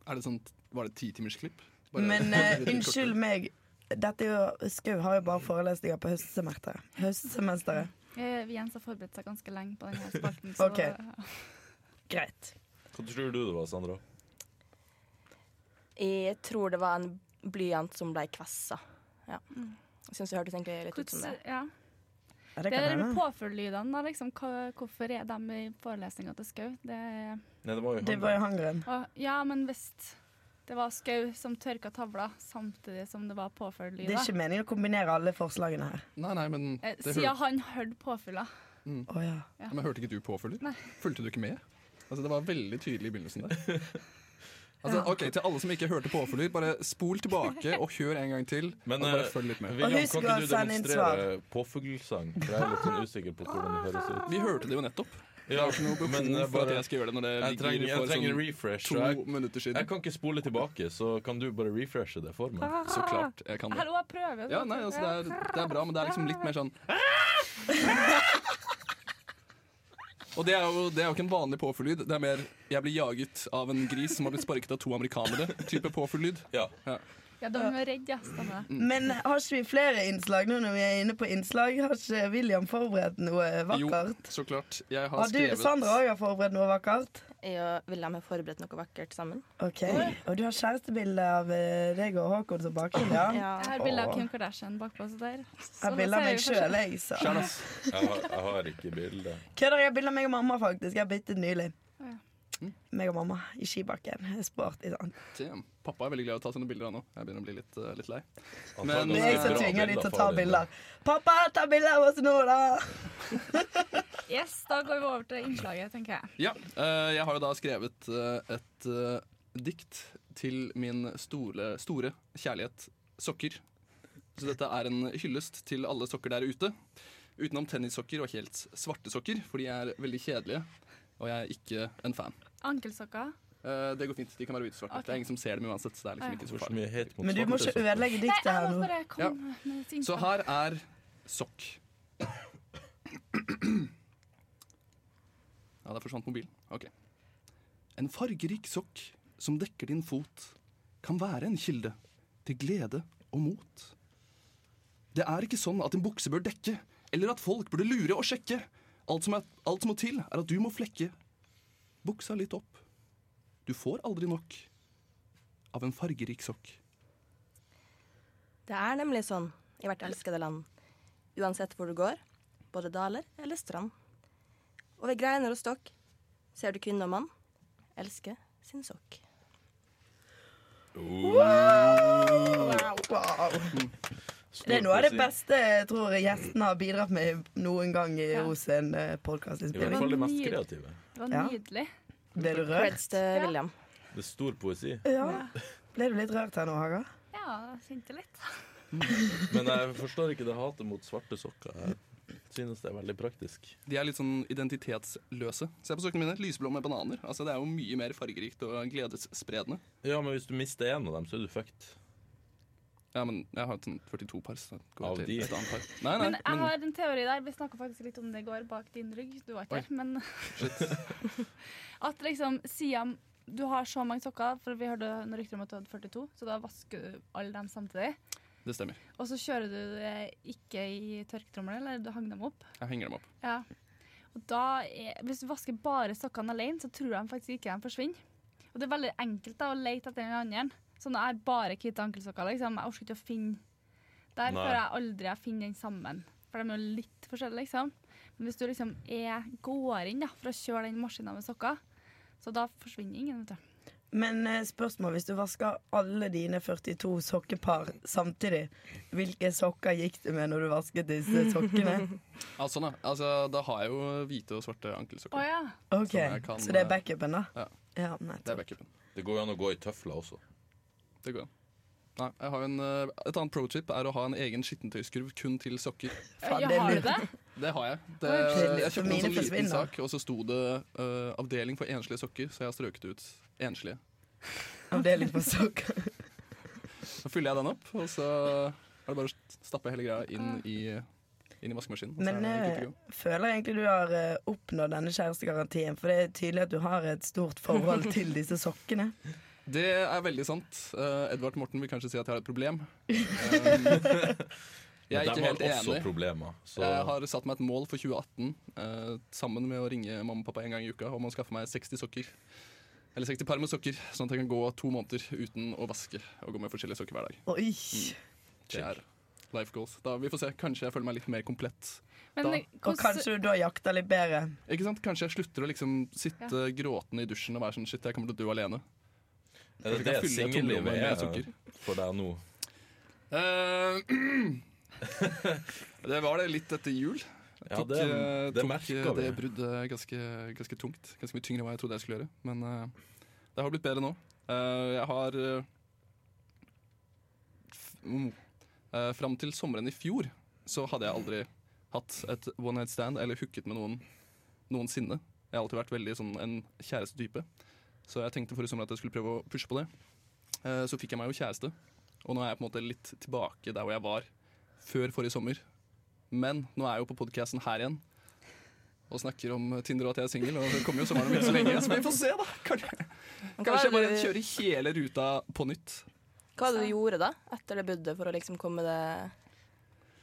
Er det sånn, Var det timersklipp?
Men eh, unnskyld meg. Dette er jo, Skau har jo bare forelesninger på høstsemesteret. høstsemesteret.
Eh, Jens har forberedt seg ganske lenge på denne spalten, så
Ok. Greit.
Hva tror du det var, Sandra?
Jeg tror det var en blyant som ble kvessa. Ja. Jeg syns det hørtes egentlig litt ut som det.
Hvordan, ja.
Ja,
Det er
hende.
påfølglydene, da, liksom. Hva- Hvorfor er de i forelesninga til Skau? Det er
Nei, det var jo
Det var jo hangeren.
Å, ja, men hvis Det var skau som tørka tavla, samtidig som det var
Det er
påfølgelyder.
ikke meningen å kombinere alle forslagene her.
Nei, nei, men
Eh,
det hør,
Siden han hørte påfylla.
Mm.
Å ja.
Ja, men hørte ikke du påfølger?
Nei.
Fulgte du ikke med? Altså, det var veldig tydelig i begynnelsen der. Altså, ok, Til alle som ikke hørte påfølger, bare spol tilbake og hør en gang til.
Men
og bare
eh,
følg litt med.
William,
husk
kan ikke
å
du
sende inn
demonstrere påfuglsang? For jeg er litt sånn usikker på hvordan det høres ut.
Vi hørte det jo nettopp. Det
Ja,
er jo ikke noe behov
men jeg,
for at
bare,
jeg skal gjøre det når det
jeg
ligger
trenger, jeg
for
trenger en
sånn
refresh.
to
så Jeg,
minutter
jeg
siden.
kan ikke spole tilbake, så kan du bare refreshe det for
Ah.
meg?
Så klart jeg kan det.
Hallo, jeg prøver.
Ja, nei, altså, det, er, det er bra, men det er liksom litt mer sånn Og det er, jo, det er jo ikke en vanlig påfuglyd. Det er mer 'jeg blir jaget av en gris som har blitt sparket av to amerikanere'-type påfuglyd.
Ja.
Ja, de var redde gjestene.
Mm.
Men eh, har ikke vi flere innslag nå når vi er inne på innslag? Har ikke William forberedt noe
Jo,
vakkert?
så klart. Jeg har
Har du,
skrevet
Sandra òg har forberedt noe vakkert?
Jeg og William har forberedt noe vakkert sammen.
Ok, Og du har kjærestebilde av eh, deg og Håkon som bakgrunn, ja? Jeg
Jeg har bilde av Kim Kardashian bakpå. Så der. Sånn, Så
har bilde av
da
meg
ser vi
sjøl, jeg. så.
Skjær, ass.
Jeg har, jeg har ikke bilde.
Kødder, jeg har bilde av meg og mamma, faktisk. Jeg har byttet nylig.
Å, ja.
Mm.
Meg og mamma i skibakken. Sport i sånn.
Damn. Pappa er veldig glad i å ta sånne bilder, han òg. Jeg begynner å bli litt, eh, litt lei.
Han
Men-
tar
Det
ganske
er jeg som
bra
tvinger de
bilder
til å
av
ta
faren din, da.
bilder. Pappa, ta bilde av oss nå, da!
forskjell. Yes, da går vi over til innslaget, tenker jeg.
Ja, eh, jeg har jo da skrevet eh, et eh, dikt til min store, store kjærlighet, sokker. Så dette er en hyllest til alle sokker der ute. Utenom tennissokker og helt svarte sokker, for de er veldig kjedelige. Og jeg er ikke en fan.
Ankelsokker.
Eh, det går fint, de kan være utsvarte.
Ok.
Det er ingen som ser dem uansett. Så det er liksom ikke så
Hvor så
farlig.
mye hate mot
Men du må ikke
svarte sokker.
ødelegge diktet
Jeg
her
må
nå.
bare komme
Ja.
med et innspill.
Så her er sokk. Ja, der forsvant mobilen. Ok. En fargerik sokk som dekker din fot, kan være en kilde til glede og mot. Det er ikke sånn at en bukse bør dekke, eller at folk burde lure og sjekke. Alt som, er, alt som må til, er at du må flekke buksa litt opp. Du får aldri nok av en fargerik sokk.
Det er nemlig sånn i hvert elskede land. Uansett hvor du går, både daler eller strand. Og ved greiner og stokk ser du kvinne og mann elske sin sokk.
Wow. Det er noe av det beste jeg tror gjesten har bidratt med noen gang i eh,
Ja.
hos en
I hvert
podkastinnspilling.
fall de mest
Nydelig.
kreative.
Det var
Ja.
nydelig.
Ble du rørt?
Creds til William.
Det er stor poesi.
Ja. Ble du litt rørt her nå, Haga?
Ja, jeg kjente litt.
Men jeg forstår ikke det hatet mot svarte sokker. Jeg synes det er veldig praktisk.
De er litt sånn identitetsløse. Se på sokkene mine. Lyseblå med bananer. Altså, det er jo mye mer fargerikt og gledesspredende.
Ja, men hvis du mister en av dem, så er du fucked.
Ja, men jeg har sånn 42 par. Så det går
Av
til
de?
et annet par. Nei, nei,
Men jeg
men
har en teori der. Vi snakka faktisk litt om det i går, bak din rygg. Du var ikke
Oi.
der, men At liksom siden du har så mange sokker, for vi hørte noen rykter om at du hadde 42, så da vasker du alle dem samtidig.
det stemmer.
Og så kjører du det ikke i tørketrommelen, eller du hang dem opp.
Jeg henger dem opp.
Ja. Og da er, hvis du vasker bare sokkene alene, så tror jeg faktisk ikke de forsvinner. Og det er veldig enkelt da, å lete etter den andre. Så når jeg bare hvite ankelsokker, liksom, jeg orker ikke å finne Der
Nei.
får jeg aldri jeg finner den sammen. For de er jo litt forskjellige, liksom. Men hvis du liksom er, går inn da, for å kjøre den maskina med sokker, så da forsvinner ingen, vet du.
Men eh, spørsmål, hvis du vasker alle dine 42 sokkepar samtidig, hvilke sokker gikk du med når du vasket disse sokkene?
Ja, sånn, da. Altså, da har jeg jo hvite og svarte ankelsokker.
Å ja.
Ok,
Som jeg kan, eh,
Så det er backupen,
ja.
da? Ja,
Det er
nettopp.
backupen.
Det går jo an å gå i tøfler også.
Det går an. Nei, jeg har jo en, eh, et annet pro-tip er å ha en egen skittentøyskurv kun til sokker.
Faen,
ja
det er
har du
lurt.
det?
Det har jeg. Det,
Oi,
jeg kjøpte en
mine
sånn liten
forsvinner.
sak, og så sto det eh, 'avdeling for enslige sokker', så jeg har strøket ut 'enslige'.
Avdeling for sokker.
Så fyller jeg den opp, og så er det bare å stappe hele greia inn i, inn i vaskemaskinen. og så
Men
er det good
eh,
to go.
føler egentlig du har eh, oppnådd denne kjærestegarantien, for det er tydelig at du har et stort forhold til disse sokkene.
det er veldig sant. Eh, Edvard Morten vil kanskje si at jeg har et problem. Um, jeg er
Men de
ikke helt
har også
enig.
problemer. Så
Jeg har satt meg et mål for 2018 eh, sammen med å ringe mamma og pappa en gang i uka om å skaffe meg 60 sokker. Eller 60 par med sokker, sånn at jeg kan gå to måneder uten å vaske og gå med forskjellige sokker hver dag.
Oi!
Mm. Det er life goals. Da, vi får se. Kanskje jeg føler meg litt mer komplett.
Men
Da.
det-
Og
hvordan,
kanskje du da jakter litt bedre.
Ikke sant? Kanskje jeg slutter å liksom sitte gråtende i dusjen og være sånn shit, jeg kommer til å dø alene.
Er
Kanskje jeg
det det
kan fylle tomrommet
singellivet
med
er
sukker.
for deg nå?
Eh, det var det litt etter jul. Jeg
Ja,
tok,
det-
eh,
det
tok,
merker
eh,
vi.
det bruddet ganske, ganske tungt. Ganske mye tyngre enn hva jeg trodde jeg skulle gjøre. Men eh, det har blitt bedre nå. Eh, jeg har eh, f- mm, eh, Fram til sommeren i fjor så hadde jeg aldri hatt et one night stand eller hooket med noen noensinne. Jeg har alltid vært veldig sånn en kjærestetype, så jeg tenkte forrige sommer at jeg skulle prøve å pushe på det. Eh, så fikk jeg meg jo kjæreste, og nå er jeg på en måte litt tilbake der hvor jeg var før forrige sommer. Men nå er jeg jo på podkasten her igjen og snakker om Tinder og at jeg er singel. Og det kommer jo sommeren om ikke så lenge, så vi får se, da. Kanskje, kanskje jeg bare kjører hele ruta på nytt
Hva var det du gjorde da, etter det buddet, for å liksom komme det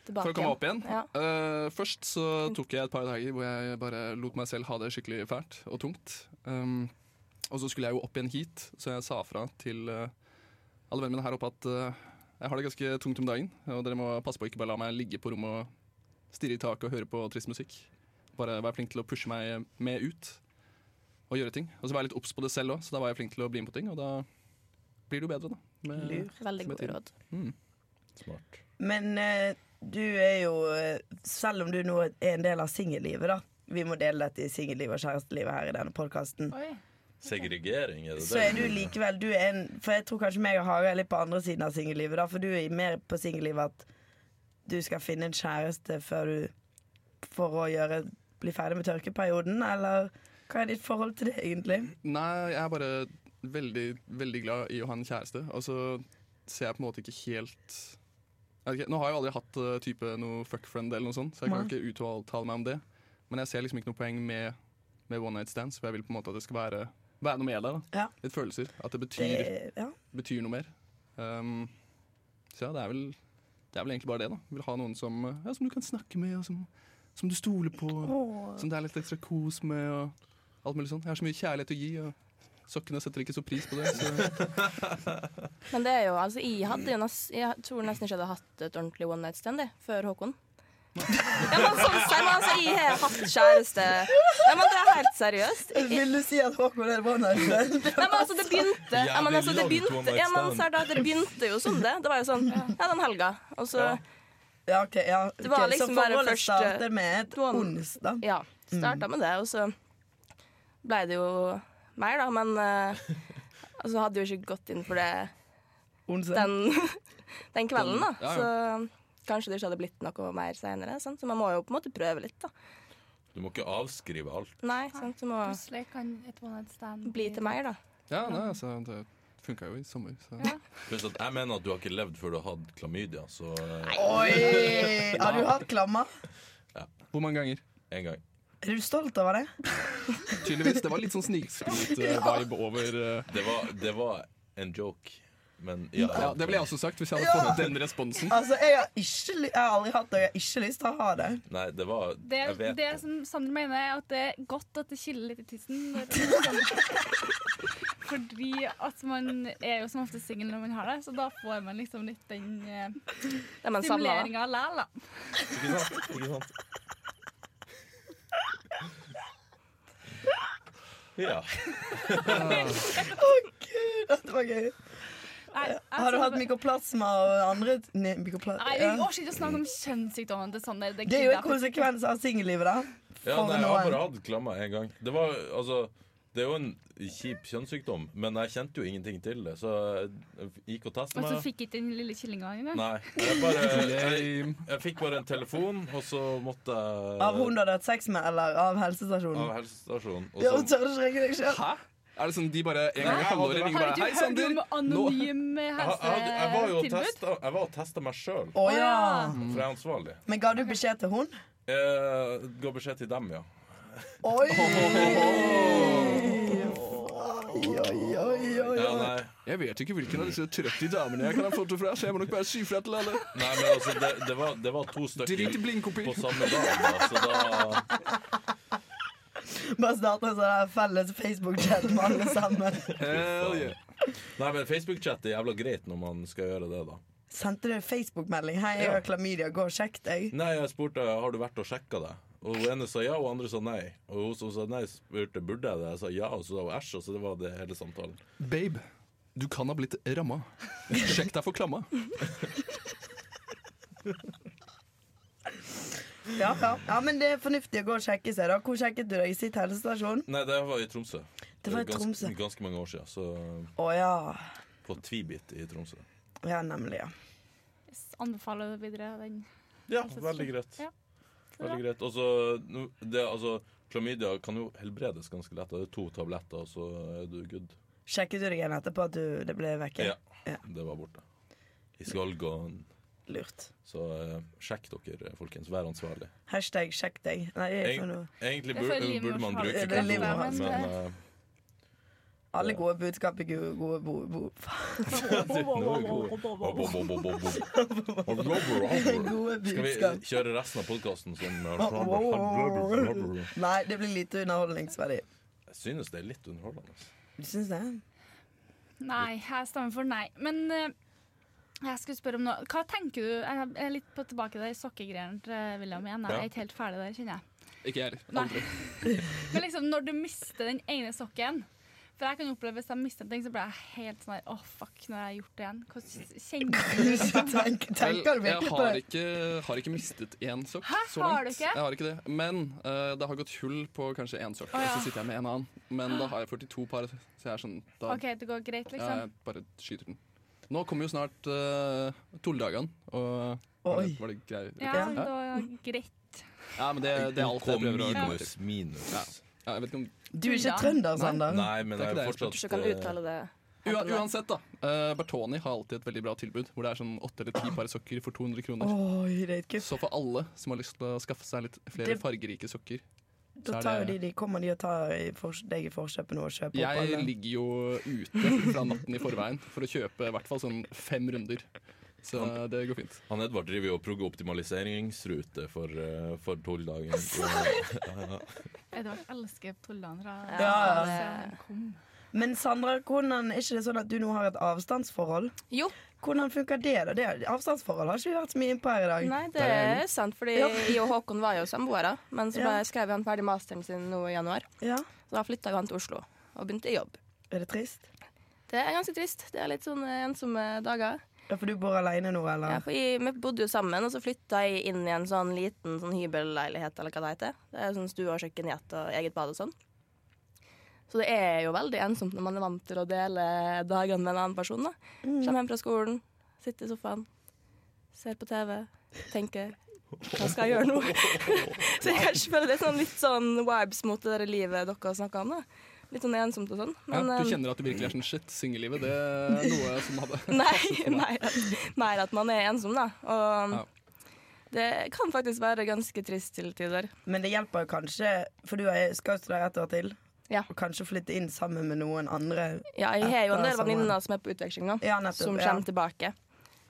tilbake?
for å komme opp igjen.
Ja. Mm.
Eh, først så tok jeg et par dager hvor jeg bare lot meg selv ha det skikkelig fælt og tungt. Um, og så skulle jeg jo opp igjen hit, så jeg sa fra til eh, alle vennene mine her oppe at eh, jeg har det ganske tungt om dagen, og dere må passe på å ikke bare la meg ligge på rommet og stirre i taket og høre på trist musikk. Bare vær flink til å pushe meg med ut og gjøre ting. Og så var jeg litt obs på det selv òg, så da var jeg flink til å bli med på ting, og da blir det jo bedre, da. Med,
Veldig
Som
gode
jeg
råd.
Smart.
Men eh, du er jo eh, Selv om du nå er en del av singellivet, da. Vi må dele dette i singellivet og kjærestelivet her i denne podkasten.
Oi.
Segregering, er det
Så er du
det?
likevel du er en For jeg tror kanskje meg og Haga er litt på andre siden av singellivet, da. For du er mer på singellivet at du skal finne en kjæreste før du For å gjøre bli ferdig med tørkeperioden, eller hva er ditt forhold til det, egentlig?
Nei, jeg er bare veldig, veldig glad i å ha en kjæreste. Og så ser jeg på en måte ikke helt jeg vet ikke, Nå har jeg jo aldri hatt eh, type noe fuckfriend eller noe sånt, så jeg kan
Nei.
ikke uttale meg om det. Men jeg ser liksom ikke noe poeng med, med one night stands, for jeg vil på en måte at det skal være, være noe mer der. da
Ja.
Litt følelser. At det
Det,
betyr,
ja.
betyr noe mer. Um, så ja, det er, vel, det er vel egentlig bare det. da Jeg Vil ha noen som, eh, ja, som du kan snakke med, og som, som du stoler på. Som det er litt ekstra kos med og alt mulig sånn. Jeg har så mye kjærlighet å gi, og sokkene setter ikke så pris på det. Så.
Men det er jo, altså, jeg, hadde jo nes- jeg tror nesten ikke jeg hadde hatt et ordentlig one night stand jeg, før Håkon. ja, men sånn, nei, men altså, jeg har hatt kjæreste Nei, men det er helt seriøst. Jeg,
Vil du si at Håkon er one night stand?
Nei, men altså, det begynte ja, men,
Jævlig langt one
altså, det begynte,
night
ja, men,
stand.
så er det, at det begynte jo sånn, det. Det var jo sånn Ja, den helga. Og så
Ja, OK. Ja.
Det var
Ok,
liksom
så
bare
forholdet
første-
starter med et
One-
onsdag.
Ja. Starta med det, og så ble det jo mer, da. Men eh, altså, hadde jo ikke gått inn for det
Onsdag.
den, den kvelden, da.
Ja, ja.
Så kanskje det ikke hadde blitt noe mer seinere. Så man må jo på en måte prøve litt, da.
Du må ikke avskrive alt.
Nei, sant? Du må
Plutselig kan et one night stand
bli til mer, da.
Ja, nei, altså, det funka jo i sommer. Så.
Pluss at jeg mener at du har ikke levd før du har hatt klamydia, så eh,
Oi! Har du hatt klammer?
Hvor mange ganger?
eh, en gang.
Er du stolt over det?
Tydeligvis. Det var litt sånn snikskryt-vibe over eh,
Det var, det var en joke, men
ja, Det ville jeg også sagt hvis jeg hadde fått den responsen.
Altså, jeg har, ikke, ly- jeg har aldri hatt det, og jeg har ikke lyst til å ha det.
Nei, det var
Det,
Jeg vet
det
det.
som Sander mener, er at det er godt at det kiler litt i tissen. når man- Fordi at man er jo som ofte singel når man har det, så da får man liksom litt den eh,
Det er man samla, da.
stimuleringa likevel, da.
Ikke sant? Ikke sant? Ja.
Dette var gøy.
Nei, jeg
Har du
tror
hatt
det-
mykoplasma og andre Nei, mykoplasma
Nei, vi
ja.
orker ikke å snakke om kjønnssykdommene til Sander. Det
Det er jo en
gidder jeg faktisk ikke.
konsekvens av singellivet, da.
ja
For
nei, jeg har
noen.
bare hatt klamma én gang. Det var altså det er jo en kjip kjønnssykdom, men jeg kjente jo ingenting til det. Så jeg gikk og
Og så
testa meg.
Altså, fikk ikke den lille killinga engang.
Nei. Jeg, bare, jeg,
Lame.
jeg fikk bare en telefon, og så måtte jeg
Av hun du hadde hatt sex med, eller av
Av
helsestasjonen.
helsestasjonen. Og
Ja, hun
så,
tør ikke ringe deg sjøl.
Hæ? Er det sånn de bare en gang i
Nei,
halvåret ringer
Har
bare
ikke
Hei,
du hørt
Sander!
om
Nå
anonym
jeg, jeg, jeg var jo og
helsetilbud?
testa- jeg var og testa meg sjøl,
Å
Å
ja.
ja.
for jeg er ansvarlig.
Men ga du beskjed til hun?
Eh, Gå beskjed til dem, ja.
Oi! Oi, oi, oi, oi.
ja nei.
Jeg vet ikke hvilken av disse 30 damene jeg kan ha fått det fra, så jeg må nok bare si fra til alle.
nei, men altså, det, det, var, det var to
Drit
stykker
i blindkopi.
på samme dag, da, så da
Bare starte en sånn her felles Facebook-chat med alle sammen.
Hell yeah.
Nei, men Facebook-chat er jævla greit når man skal gjøre det, da.
Sendte du en Facebook-melding? 'Hei, jeg har klamydia. Gå og sjekk deg.'
Nei, jeg spurte har du vært og sjekka det. Og hun ene sa ja, og andre sa nei. Og hun som sa nei, spurte burde jeg det. Jeg sa ja, og så sa hun æsj, og så det var det hele samtalen.
Babe. Du kan ha blitt ramma. Sjekk deg for klamma.
Ja, ja. ja, men det er fornuftig å gå og sjekke seg, da. Hvor sjekket du deg? I sitt helsestasjon?
Nei, det var i Tromsø.
Det var i
Gans-
Tromsø.
ganske mange år siden. Så
Å ja.
på Tvibit i Tromsø.
Ja, nemlig, ja.
S- Anbefaler videre den.
Ja,
Altså,
veldig greit.
ja.
Veldig greit. Og så, nå- det, altså, klamydia kan jo helbredes ganske lett. Det er to tabletter, og så er du good.
Sjekket du deg igjen etterpå at du, det ble vekke?
Ja. Det var borte. I skalgan.
Lurt.
Så eh, sjekk dere, folkens. Vær ansvarlig.
Hashtag sjekk deg. Nei, jeg, for noe.
Egentlig
Det er
bur,
for
burde
livmorhalsen.
man bruke
Det er
kondom,
livmorhalsen,
men eh,
Alle gode budskap er gode, gode bo... bo
Skal vi
budskap.
kjøre resten av podkasten som
Nei, det blir lite underholdningsverdi.
Jeg synes det er litt underholdende. altså.
Du syns det?
Nei, jeg stemmer for nei. Men eh, jeg skulle spørre om noe. Hva tenker du Jeg er litt på tilbake til de sokkegreiene til eh, William igjen. Jeg
Ja.
er ikke helt ferdig der, kjenner jeg.
Ikke jeg heller.
Nei. Men liksom når du mister den ene sokken For jeg kan oppleve hvis jeg mister en ting, så blir jeg helt sånn her Åh, fuck, nå har jeg gjort det igjen. Hvordan kjenner du det?
Tenk, tenker du
Vel,
virkelig
jeg
på
har
det?
ikke, har ikke mistet én sokk
Hæ?
så
Har
langt.
du ikke?
Jeg har ikke det. Men eh, det har gått hull på kanskje én sokk,
Å, ja.
og så sitter jeg med en annen. Men da har jeg 42 par, så jeg er sånn Da
OK, det går greit,
ja,
liksom?
jeg bare skyter den. Nå kommer jo snart uh, tulledagene, og var det,
Oi.
var det greit?
Ja,
Ja.
sånn, det var greit.
Ja, men det, det er alt jeg
OK,
prøver å komme
minus,
til.
minus.
Ja, jeg vet ikke om
Du er ikke trønder,
Nei.
Sander?
Nei, men
Det er ikke det
det er
jeg
fortsatt
Kanskje kan
eh,
uttale det.
Ua,
Hatten der.
uansett, da. Eh, Bertoni har alltid et veldig bra tilbud, hvor det er sånn åtte eller ti par sokker for 200 kroner.
Oi, det er ikke
Så for alle som har lyst til å skaffe seg litt flere
Det-
fargerike sokker så
Da
er
tar jo
det-
de, de kommer de og tar i for, deg i forkjøpet nå og kjøper opp
Jeg
alle.
ligger jo ute fra natten i forveien for å kjøpe i hvert fall sånn fem runder. Så eh, det går fint.
Han Edvard eh, driver jo og progger optimaliseringsrute for, eh, for tolvdagen.
Edvard elsker Tollan fra
Ja,
ja.
Så kom.
Men Sandra, hvordan, er ikke det sånn at du nå har et avstandsforhold?
Jo,
Hvordan funker det, da? Det, avstandsforhold har ikke vi vært så mye inn på her i dag.
nei, det er sant, fordi
Ja.
jeg og Håkon var jo samboere, men så ble,
Ja.
skrev han ferdig masteren sin nå i januar.
Ja,
Så da flytta han til Oslo og begynte i jobb.
Er det trist?
Det er ganske trist. Det er litt sånn eh, ensomme dager.
Ja, For du bor alene nå,
Ja,
eller?
for jeg, vi bodde jo sammen, og så flytta jeg inn i en sånn liten sånn hybelleilighet, eller hva det heter. Det er sånn stue og kjøkken, gjett og eget bad og sånn. Så det er jo veldig ensomt når man er vant til å dele dagene med en annen person. da. Kommer hjem fra skolen, sitter i sofaen, ser på TV, tenker hva skal jeg gjøre nå? så jeg kanskje føler det er sånn litt sånn vibes mot det der livet dere snakker om. da. Litt sånn ensomt og sånn.
Ja,
Men,
du
eh,
kjenner at det virkelig er sånn shit, singellivet. Det er noe som hadde
Nei, mer at, mer at man er ensom, da. Og
Ja.
det kan faktisk være ganske trist til tider.
Men det hjelper jo kanskje, for du er- skal jo studere et år til.
Ja.
Og kanskje flytte inn sammen med noen andre.
Ja, jeg har jo en del
Etter sommeren.
venninner som er på utveksling nå,
Ja, nettopp,
som
ja.
kommer tilbake.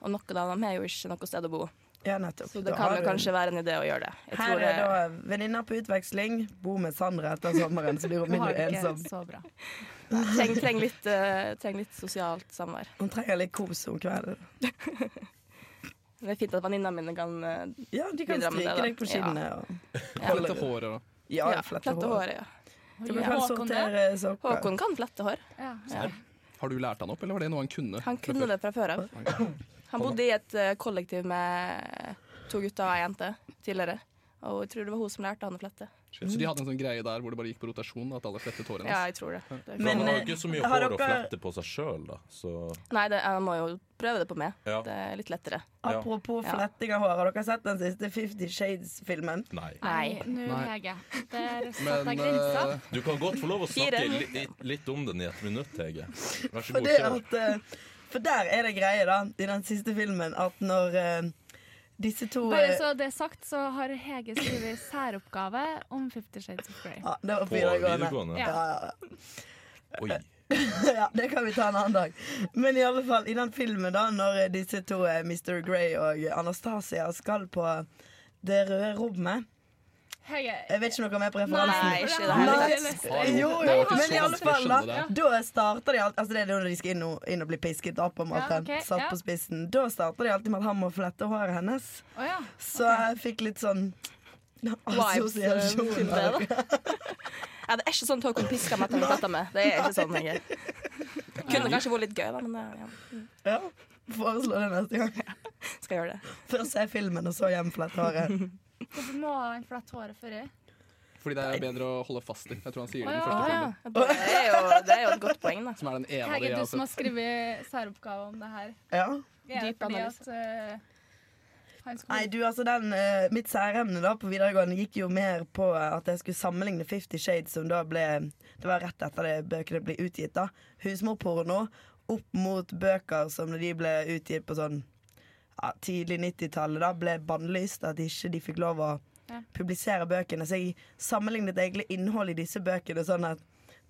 Og noen av dem har jo ikke noe sted å bo,
Ja, nettopp. Da
så det kan
har
jo
du-
kanskje være en idé å gjøre det. Jeg
Her
tror det
er da venninner på utveksling. Bo med Sandra etter sommeren, så blir hun
Hun har
mindre
det ikke
ensom.
så bra.
trenger treng litt, eh, treng litt sosialt samvær.
Hun trenger litt kos om kvelden.
Det er fint at venninnene mine kan eh,
Ja, de kan
Bidra med
stryke
det, da.
deg på kinnet. og-
flette håret og
Ja,
ja, flette håret. Ja.
Du
Ja.
kan
Håkon det?
sortere sokker.
Håkon kan flette hår.
Ja.
Har du lært han opp, eller var det noe han kunne?
Han kunne det fra før av. Han bodde i et eh, kollektiv med to gutter og ei jente tidligere. Og jeg tror det var hun som lærte han å flette.
Så de hadde en sånn greie der hvor det bare gikk på rotasjon, at alle flettet håret
Ja,
hans.
jeg tror det. det er
Men,
Men,
han har jo
eh,
ikke så mye
har
hår å
dere-
flette på seg sjøl, da. Så
fint. Nei, det, jeg må jo prøve det på meg.
Ja.
Det er litt lettere.
Ja.
Apropos
Ja.
fletting av hår, har dere sett den siste Fifty Shades-filmen?
nei.
Nei.
Nå,
Nei.
Hege. Der satt jeg
Men
grensa.
eh,
Du kan godt få lov å snakke
Fire.
li, li, litt om den i et minutt, Hege. Vær så
For,
god,
det
kjør.
at, eh, for der er det greie, da, i den siste filmen, at når eh, disse to
Bare
eh,
så det er sagt, så har Hege skrevet særoppgave om Fifty Shades of Grey.
ja, det var
På
videregående.
videregående.
Ja.
Ja, ja, ja.
Oi.
ja, det kan vi ta en annen dag. Men i alle fall, i den filmen, da, når disse to, eh, Mr. Grey og Anastasia, skal på Det røde rommet
Hege
Eh,
Jeg vet ikke om dere er med på
Nei,
referansen.
ikke
for
det
har
her.
jeg ikke lyst til.
Nei.
Jo,
Det
jo,
var
men
så
i alle
vanskelig å
fall,
skjønne
da.
det.
Da starter de alt Altså Det er når de skal inn og, inn og bli pisket, da, på en måte.
Ja, ok,
Satt
ja.
på spissen. Da starter de alltid med at han må flette håret hennes.
eh.
Å ja.
Så jeg fikk litt sånn Altså,
Vibes, eh,
assosiasjoner.
filmdelen. ja, det er ikke sånn at Håkon pisker meg til å flette meg. Det er ikke sånn lenger. Kunne kanskje vært litt gøy, da, men det- ja.
Ja. Foreslå det neste gang.
skal gjøre det.
Først se filmen, og så hjemflette håret.
Hvorfor må han flette håret før jeg?
Fordi det er bedre å holde fast i. Jeg tror han sier det
Å,
i den
ja.
første
Å,
filmen.
ja. det, er jo, det er jo et godt poeng, da.
Som er den ene av de
Hege,
jeg
du
har
som
sett.
har skrevet særoppgave om det her.
Ja.
Er det
Dyp
fordi
analyse.
at eh, han skulle
Nei, du, altså den eh, Mitt særemne da på videregående gikk jo mer på eh, at jeg skulle sammenligne Fifty Shades, som da ble Det var rett etter det bøkene ble utgitt, da. Husmorporno opp mot bøker som når de ble utgitt på sånn ja, tidlig 90-tallet, da ble bannlyst. At ikke de fikk lov å
Ja.
publisere bøkene. Så jeg sammenlignet egentlig innholdet i disse bøkene sånn at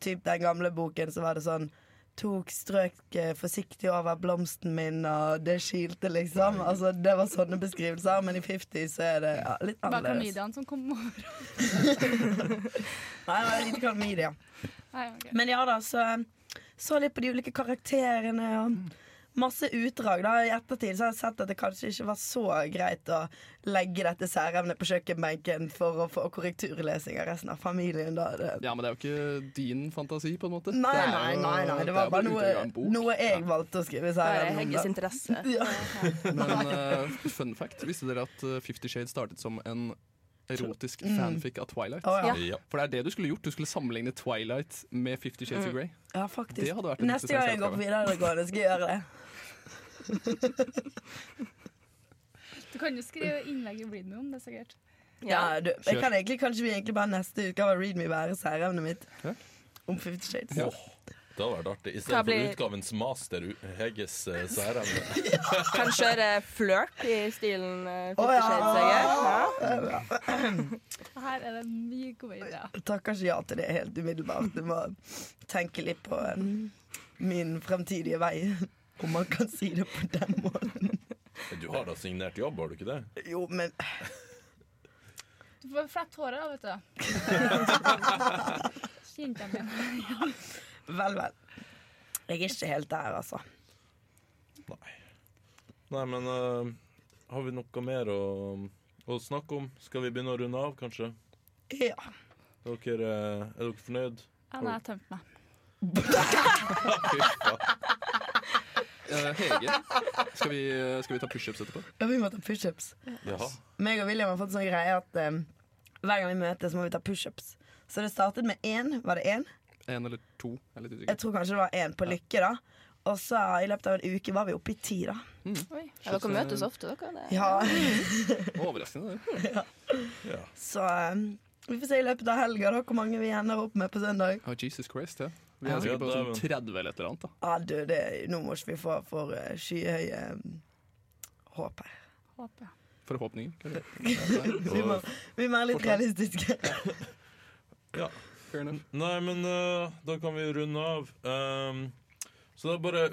typ den gamle boken så var det sånn Tok strøk eh, forsiktig over blomsten min, og det kilte, liksom. Altså, det var sånne beskrivelser, men i 50 så er det ja, litt
Bare
annerledes.
klamydiaen som kom over.
Nei, det var lite klamydia.
Nei, ok.
Men ja da, så så litt på de ulike karakterene og masse utdrag. da I ettertid så har jeg sett at det kanskje ikke var så greit å legge dette særemnet på kjøkkenbenken for å få korrekturlesing av resten av familien. da det.
Ja, men det er jo ikke din fantasi, på en måte.
Nei,
Det er
nei,
jo-
nei, nei, det
er
var
jo
bare
utdrag av
noe,
en bok.
noe jeg valgte å skrive
Det er
særemne om.
Hegges
da.
interesse.
Ja.
Men eh, fun fact, visste dere at eh, Fifty Shades startet som en erotisk fanfic av Twilight?
Mm. Å, ja.
Ja.
Ja.
For det er det du skulle gjort. Du skulle sammenligne Twilight med Fifty Shades
Mm.
of Grey.
ja,
Det
faktisk.
hadde vært en
Neste gang jeg
interessant
går på
oppgave.
videregående, skal jeg gjøre det.
Du kan jo skrive innlegg i Readme om det, sikkert.
Ja,
Ja.
du, jeg kan egentlig, Kanskje vi egentlig bare neste uke har Read Me være særemnet mitt
Ja.
om Fifty Shades.
Ja.
Det hadde vært artig. I stedet
Hva
for
blir-
utgavens master, u- Heges eh, særemne.
Kan kjøre flørt i stilen eh, Fifty
Å, ja.
Shades, jeg. Ja.
Her er det mye gode ideer.
takker ikke ja til det helt umiddelbart. Jeg må tenke litt på eh, min fremtidige vei. Om man kan si det på den måten.
Du har da signert jobb, har du ikke det?
Jo, men
Du får flette håret, da, vet du. Kjente jeg meg.
vel, vel. Jeg er ikke helt der, altså.
Nei. Nei, men eh, har vi noe mer å, å snakke om? Skal vi begynne å runde av, kanskje?
Ja.
Dere, eh, er dere fornøyd?
Ja, nei, jeg tømte meg.
Fy faen.
Eh, Hege, skal vi, eh, skal vi ta pushups etterpå?
Ja, vi må ta pushups.
Ja.
Meg og William har fått sånn greie at eh, hver gang vi møtes, må vi ta pushups. Så det startet med én. Var det én?
Én eller to? Jeg er litt
Jeg
usikker.
tror kanskje det var én på Lykke, da. Og så i løpet av en uke var vi oppe i ti, da.
Oi.
Ja, dere møtes ofte, dere. Det.
Ja.
Overraskende. det.
Så eh, vi får se i løpet av helga da, hvor mange vi ender opp med på søndag.
Oh, Jesus Christ, ja. Vi er
Ja.
sikkert på
Ja,
sånn
dæven.
30 eller et eller annet. da
Ja, du, det, nå må ikke vi få for eh, skyhøye um, håp her.
Håper jeg.
Forhåpninger. kanskje.
Vi må, vi må være litt
Fortell.
realistiske.
ja.
Fair enough.
Nei, men eh, da kan vi runde av. Ehm, så det er bare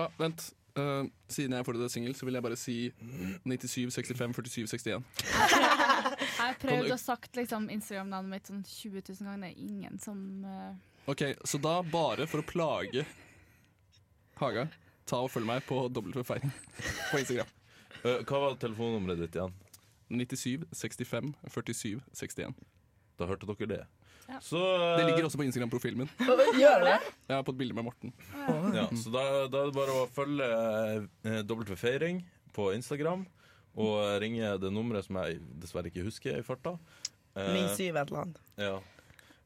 Ja, vent. Eh, siden jeg er fortsatt singel, så vil jeg bare si 97, 65, 47, 61.
Jeg har
Kan du-
prøvd å sagt liksom, Instagram-navnet mitt sånn 20 000 ganger. Det er ingen som eh,
Ok, Så da, bare for å plage Haga, ta og følg meg på dobbeltforfeiring på Instagram.
eh, Hva var telefonnummeret ditt igjen?
97, 65, 47, 61.
Da hørte dere det.
Ja.
Så, eh,
Det ligger også på Instagram-profilen min.
Gjør det?
Jeg har på et bilde med Morten.
ja, så da, da er det bare å følge eh, Dobbeltforfeiring på Instagram. Og ringe det nummeret som jeg dessverre ikke husker i farta. Eh,
97 et eller annet.
ja.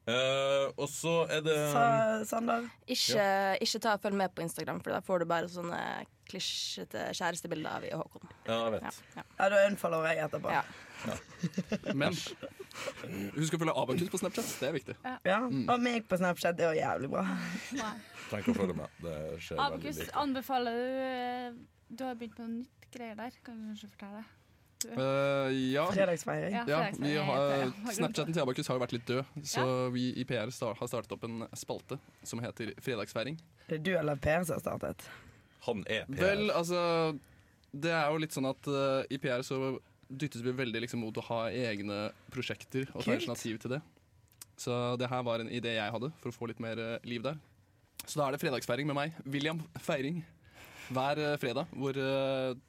Eh, og så er det
Sa Sander.
Ikke, ikke ta og følg med på Instagram, for da får du bare sånne klisjete kjærestebilder av i Håkon.
Ja, jeg vet.
Ja, ja.
Ja, da unnfaller jeg etterpå.
Ja.
Ja.
Men husk å følge Abakus på Snapchat. Det er viktig.
Og meg på Snapchat det er jo jævlig bra.
Nei.
Trenger ikke å følge med. Det skjer veldig
Abakus,
lite.
anbefaler du eh, Du har begynt på noe nytt greier der. Kan du kanskje fortelle?
Eh, ja,
Fredagsfeiring.
Ja,
ja
fredagsfeiring
vi
heter
har,
det, ja.
Snapchaten til Abakus har jo vært litt død, så vi i PR sta- har startet opp en spalte som heter Fredagsfeiring.
Det er du eller Per som har startet.
Han er PR.
Vel, altså Det er jo litt sånn at eh, i PR så dyttes vi veldig liksom, mot å ha egne prosjekter og ta
Kult.
initiativ til det. Så det her var en idé jeg hadde for å få litt mer eh, liv der. Så da er det fredagsfeiring med meg. William Feiring hver eh, fredag. Hvor eh,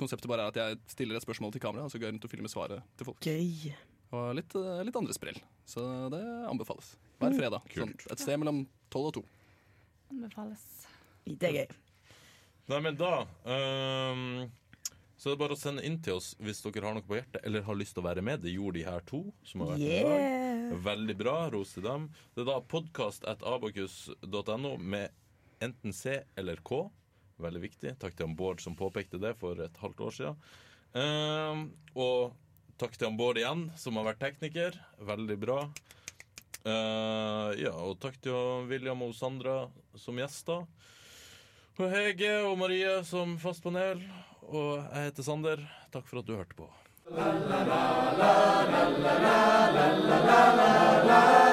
konseptet bare er at jeg stiller et spørsmål til kamera, og så går jeg rundt og filmer svaret til folk.
Gøy.
Og litt, eh, litt andre sprell. Så det anbefales. Hver fredag. Sånn, et sted mellom tolv og to.
Anbefales.
Det er gøy.
Nei, men da øhm, Så er det bare å sende inn til oss hvis dere har noe på hjertet eller har lyst til å være med. Det gjorde de her to. som har vært med i dag.
Yeah.
Veldig bra. Ros til dem. Det er da podkast.abakus.no med enten C eller K. Veldig viktig. Takk til han Bård som påpekte det for et halvt år siden. Ehm, og takk til han Bård igjen, som har vært tekniker. Veldig bra. Eh, ja, og takk til han William og Sandra som gjester. Og Hege og Marie som fast panel. Og jeg heter Sander. Takk for at du hørte på.
la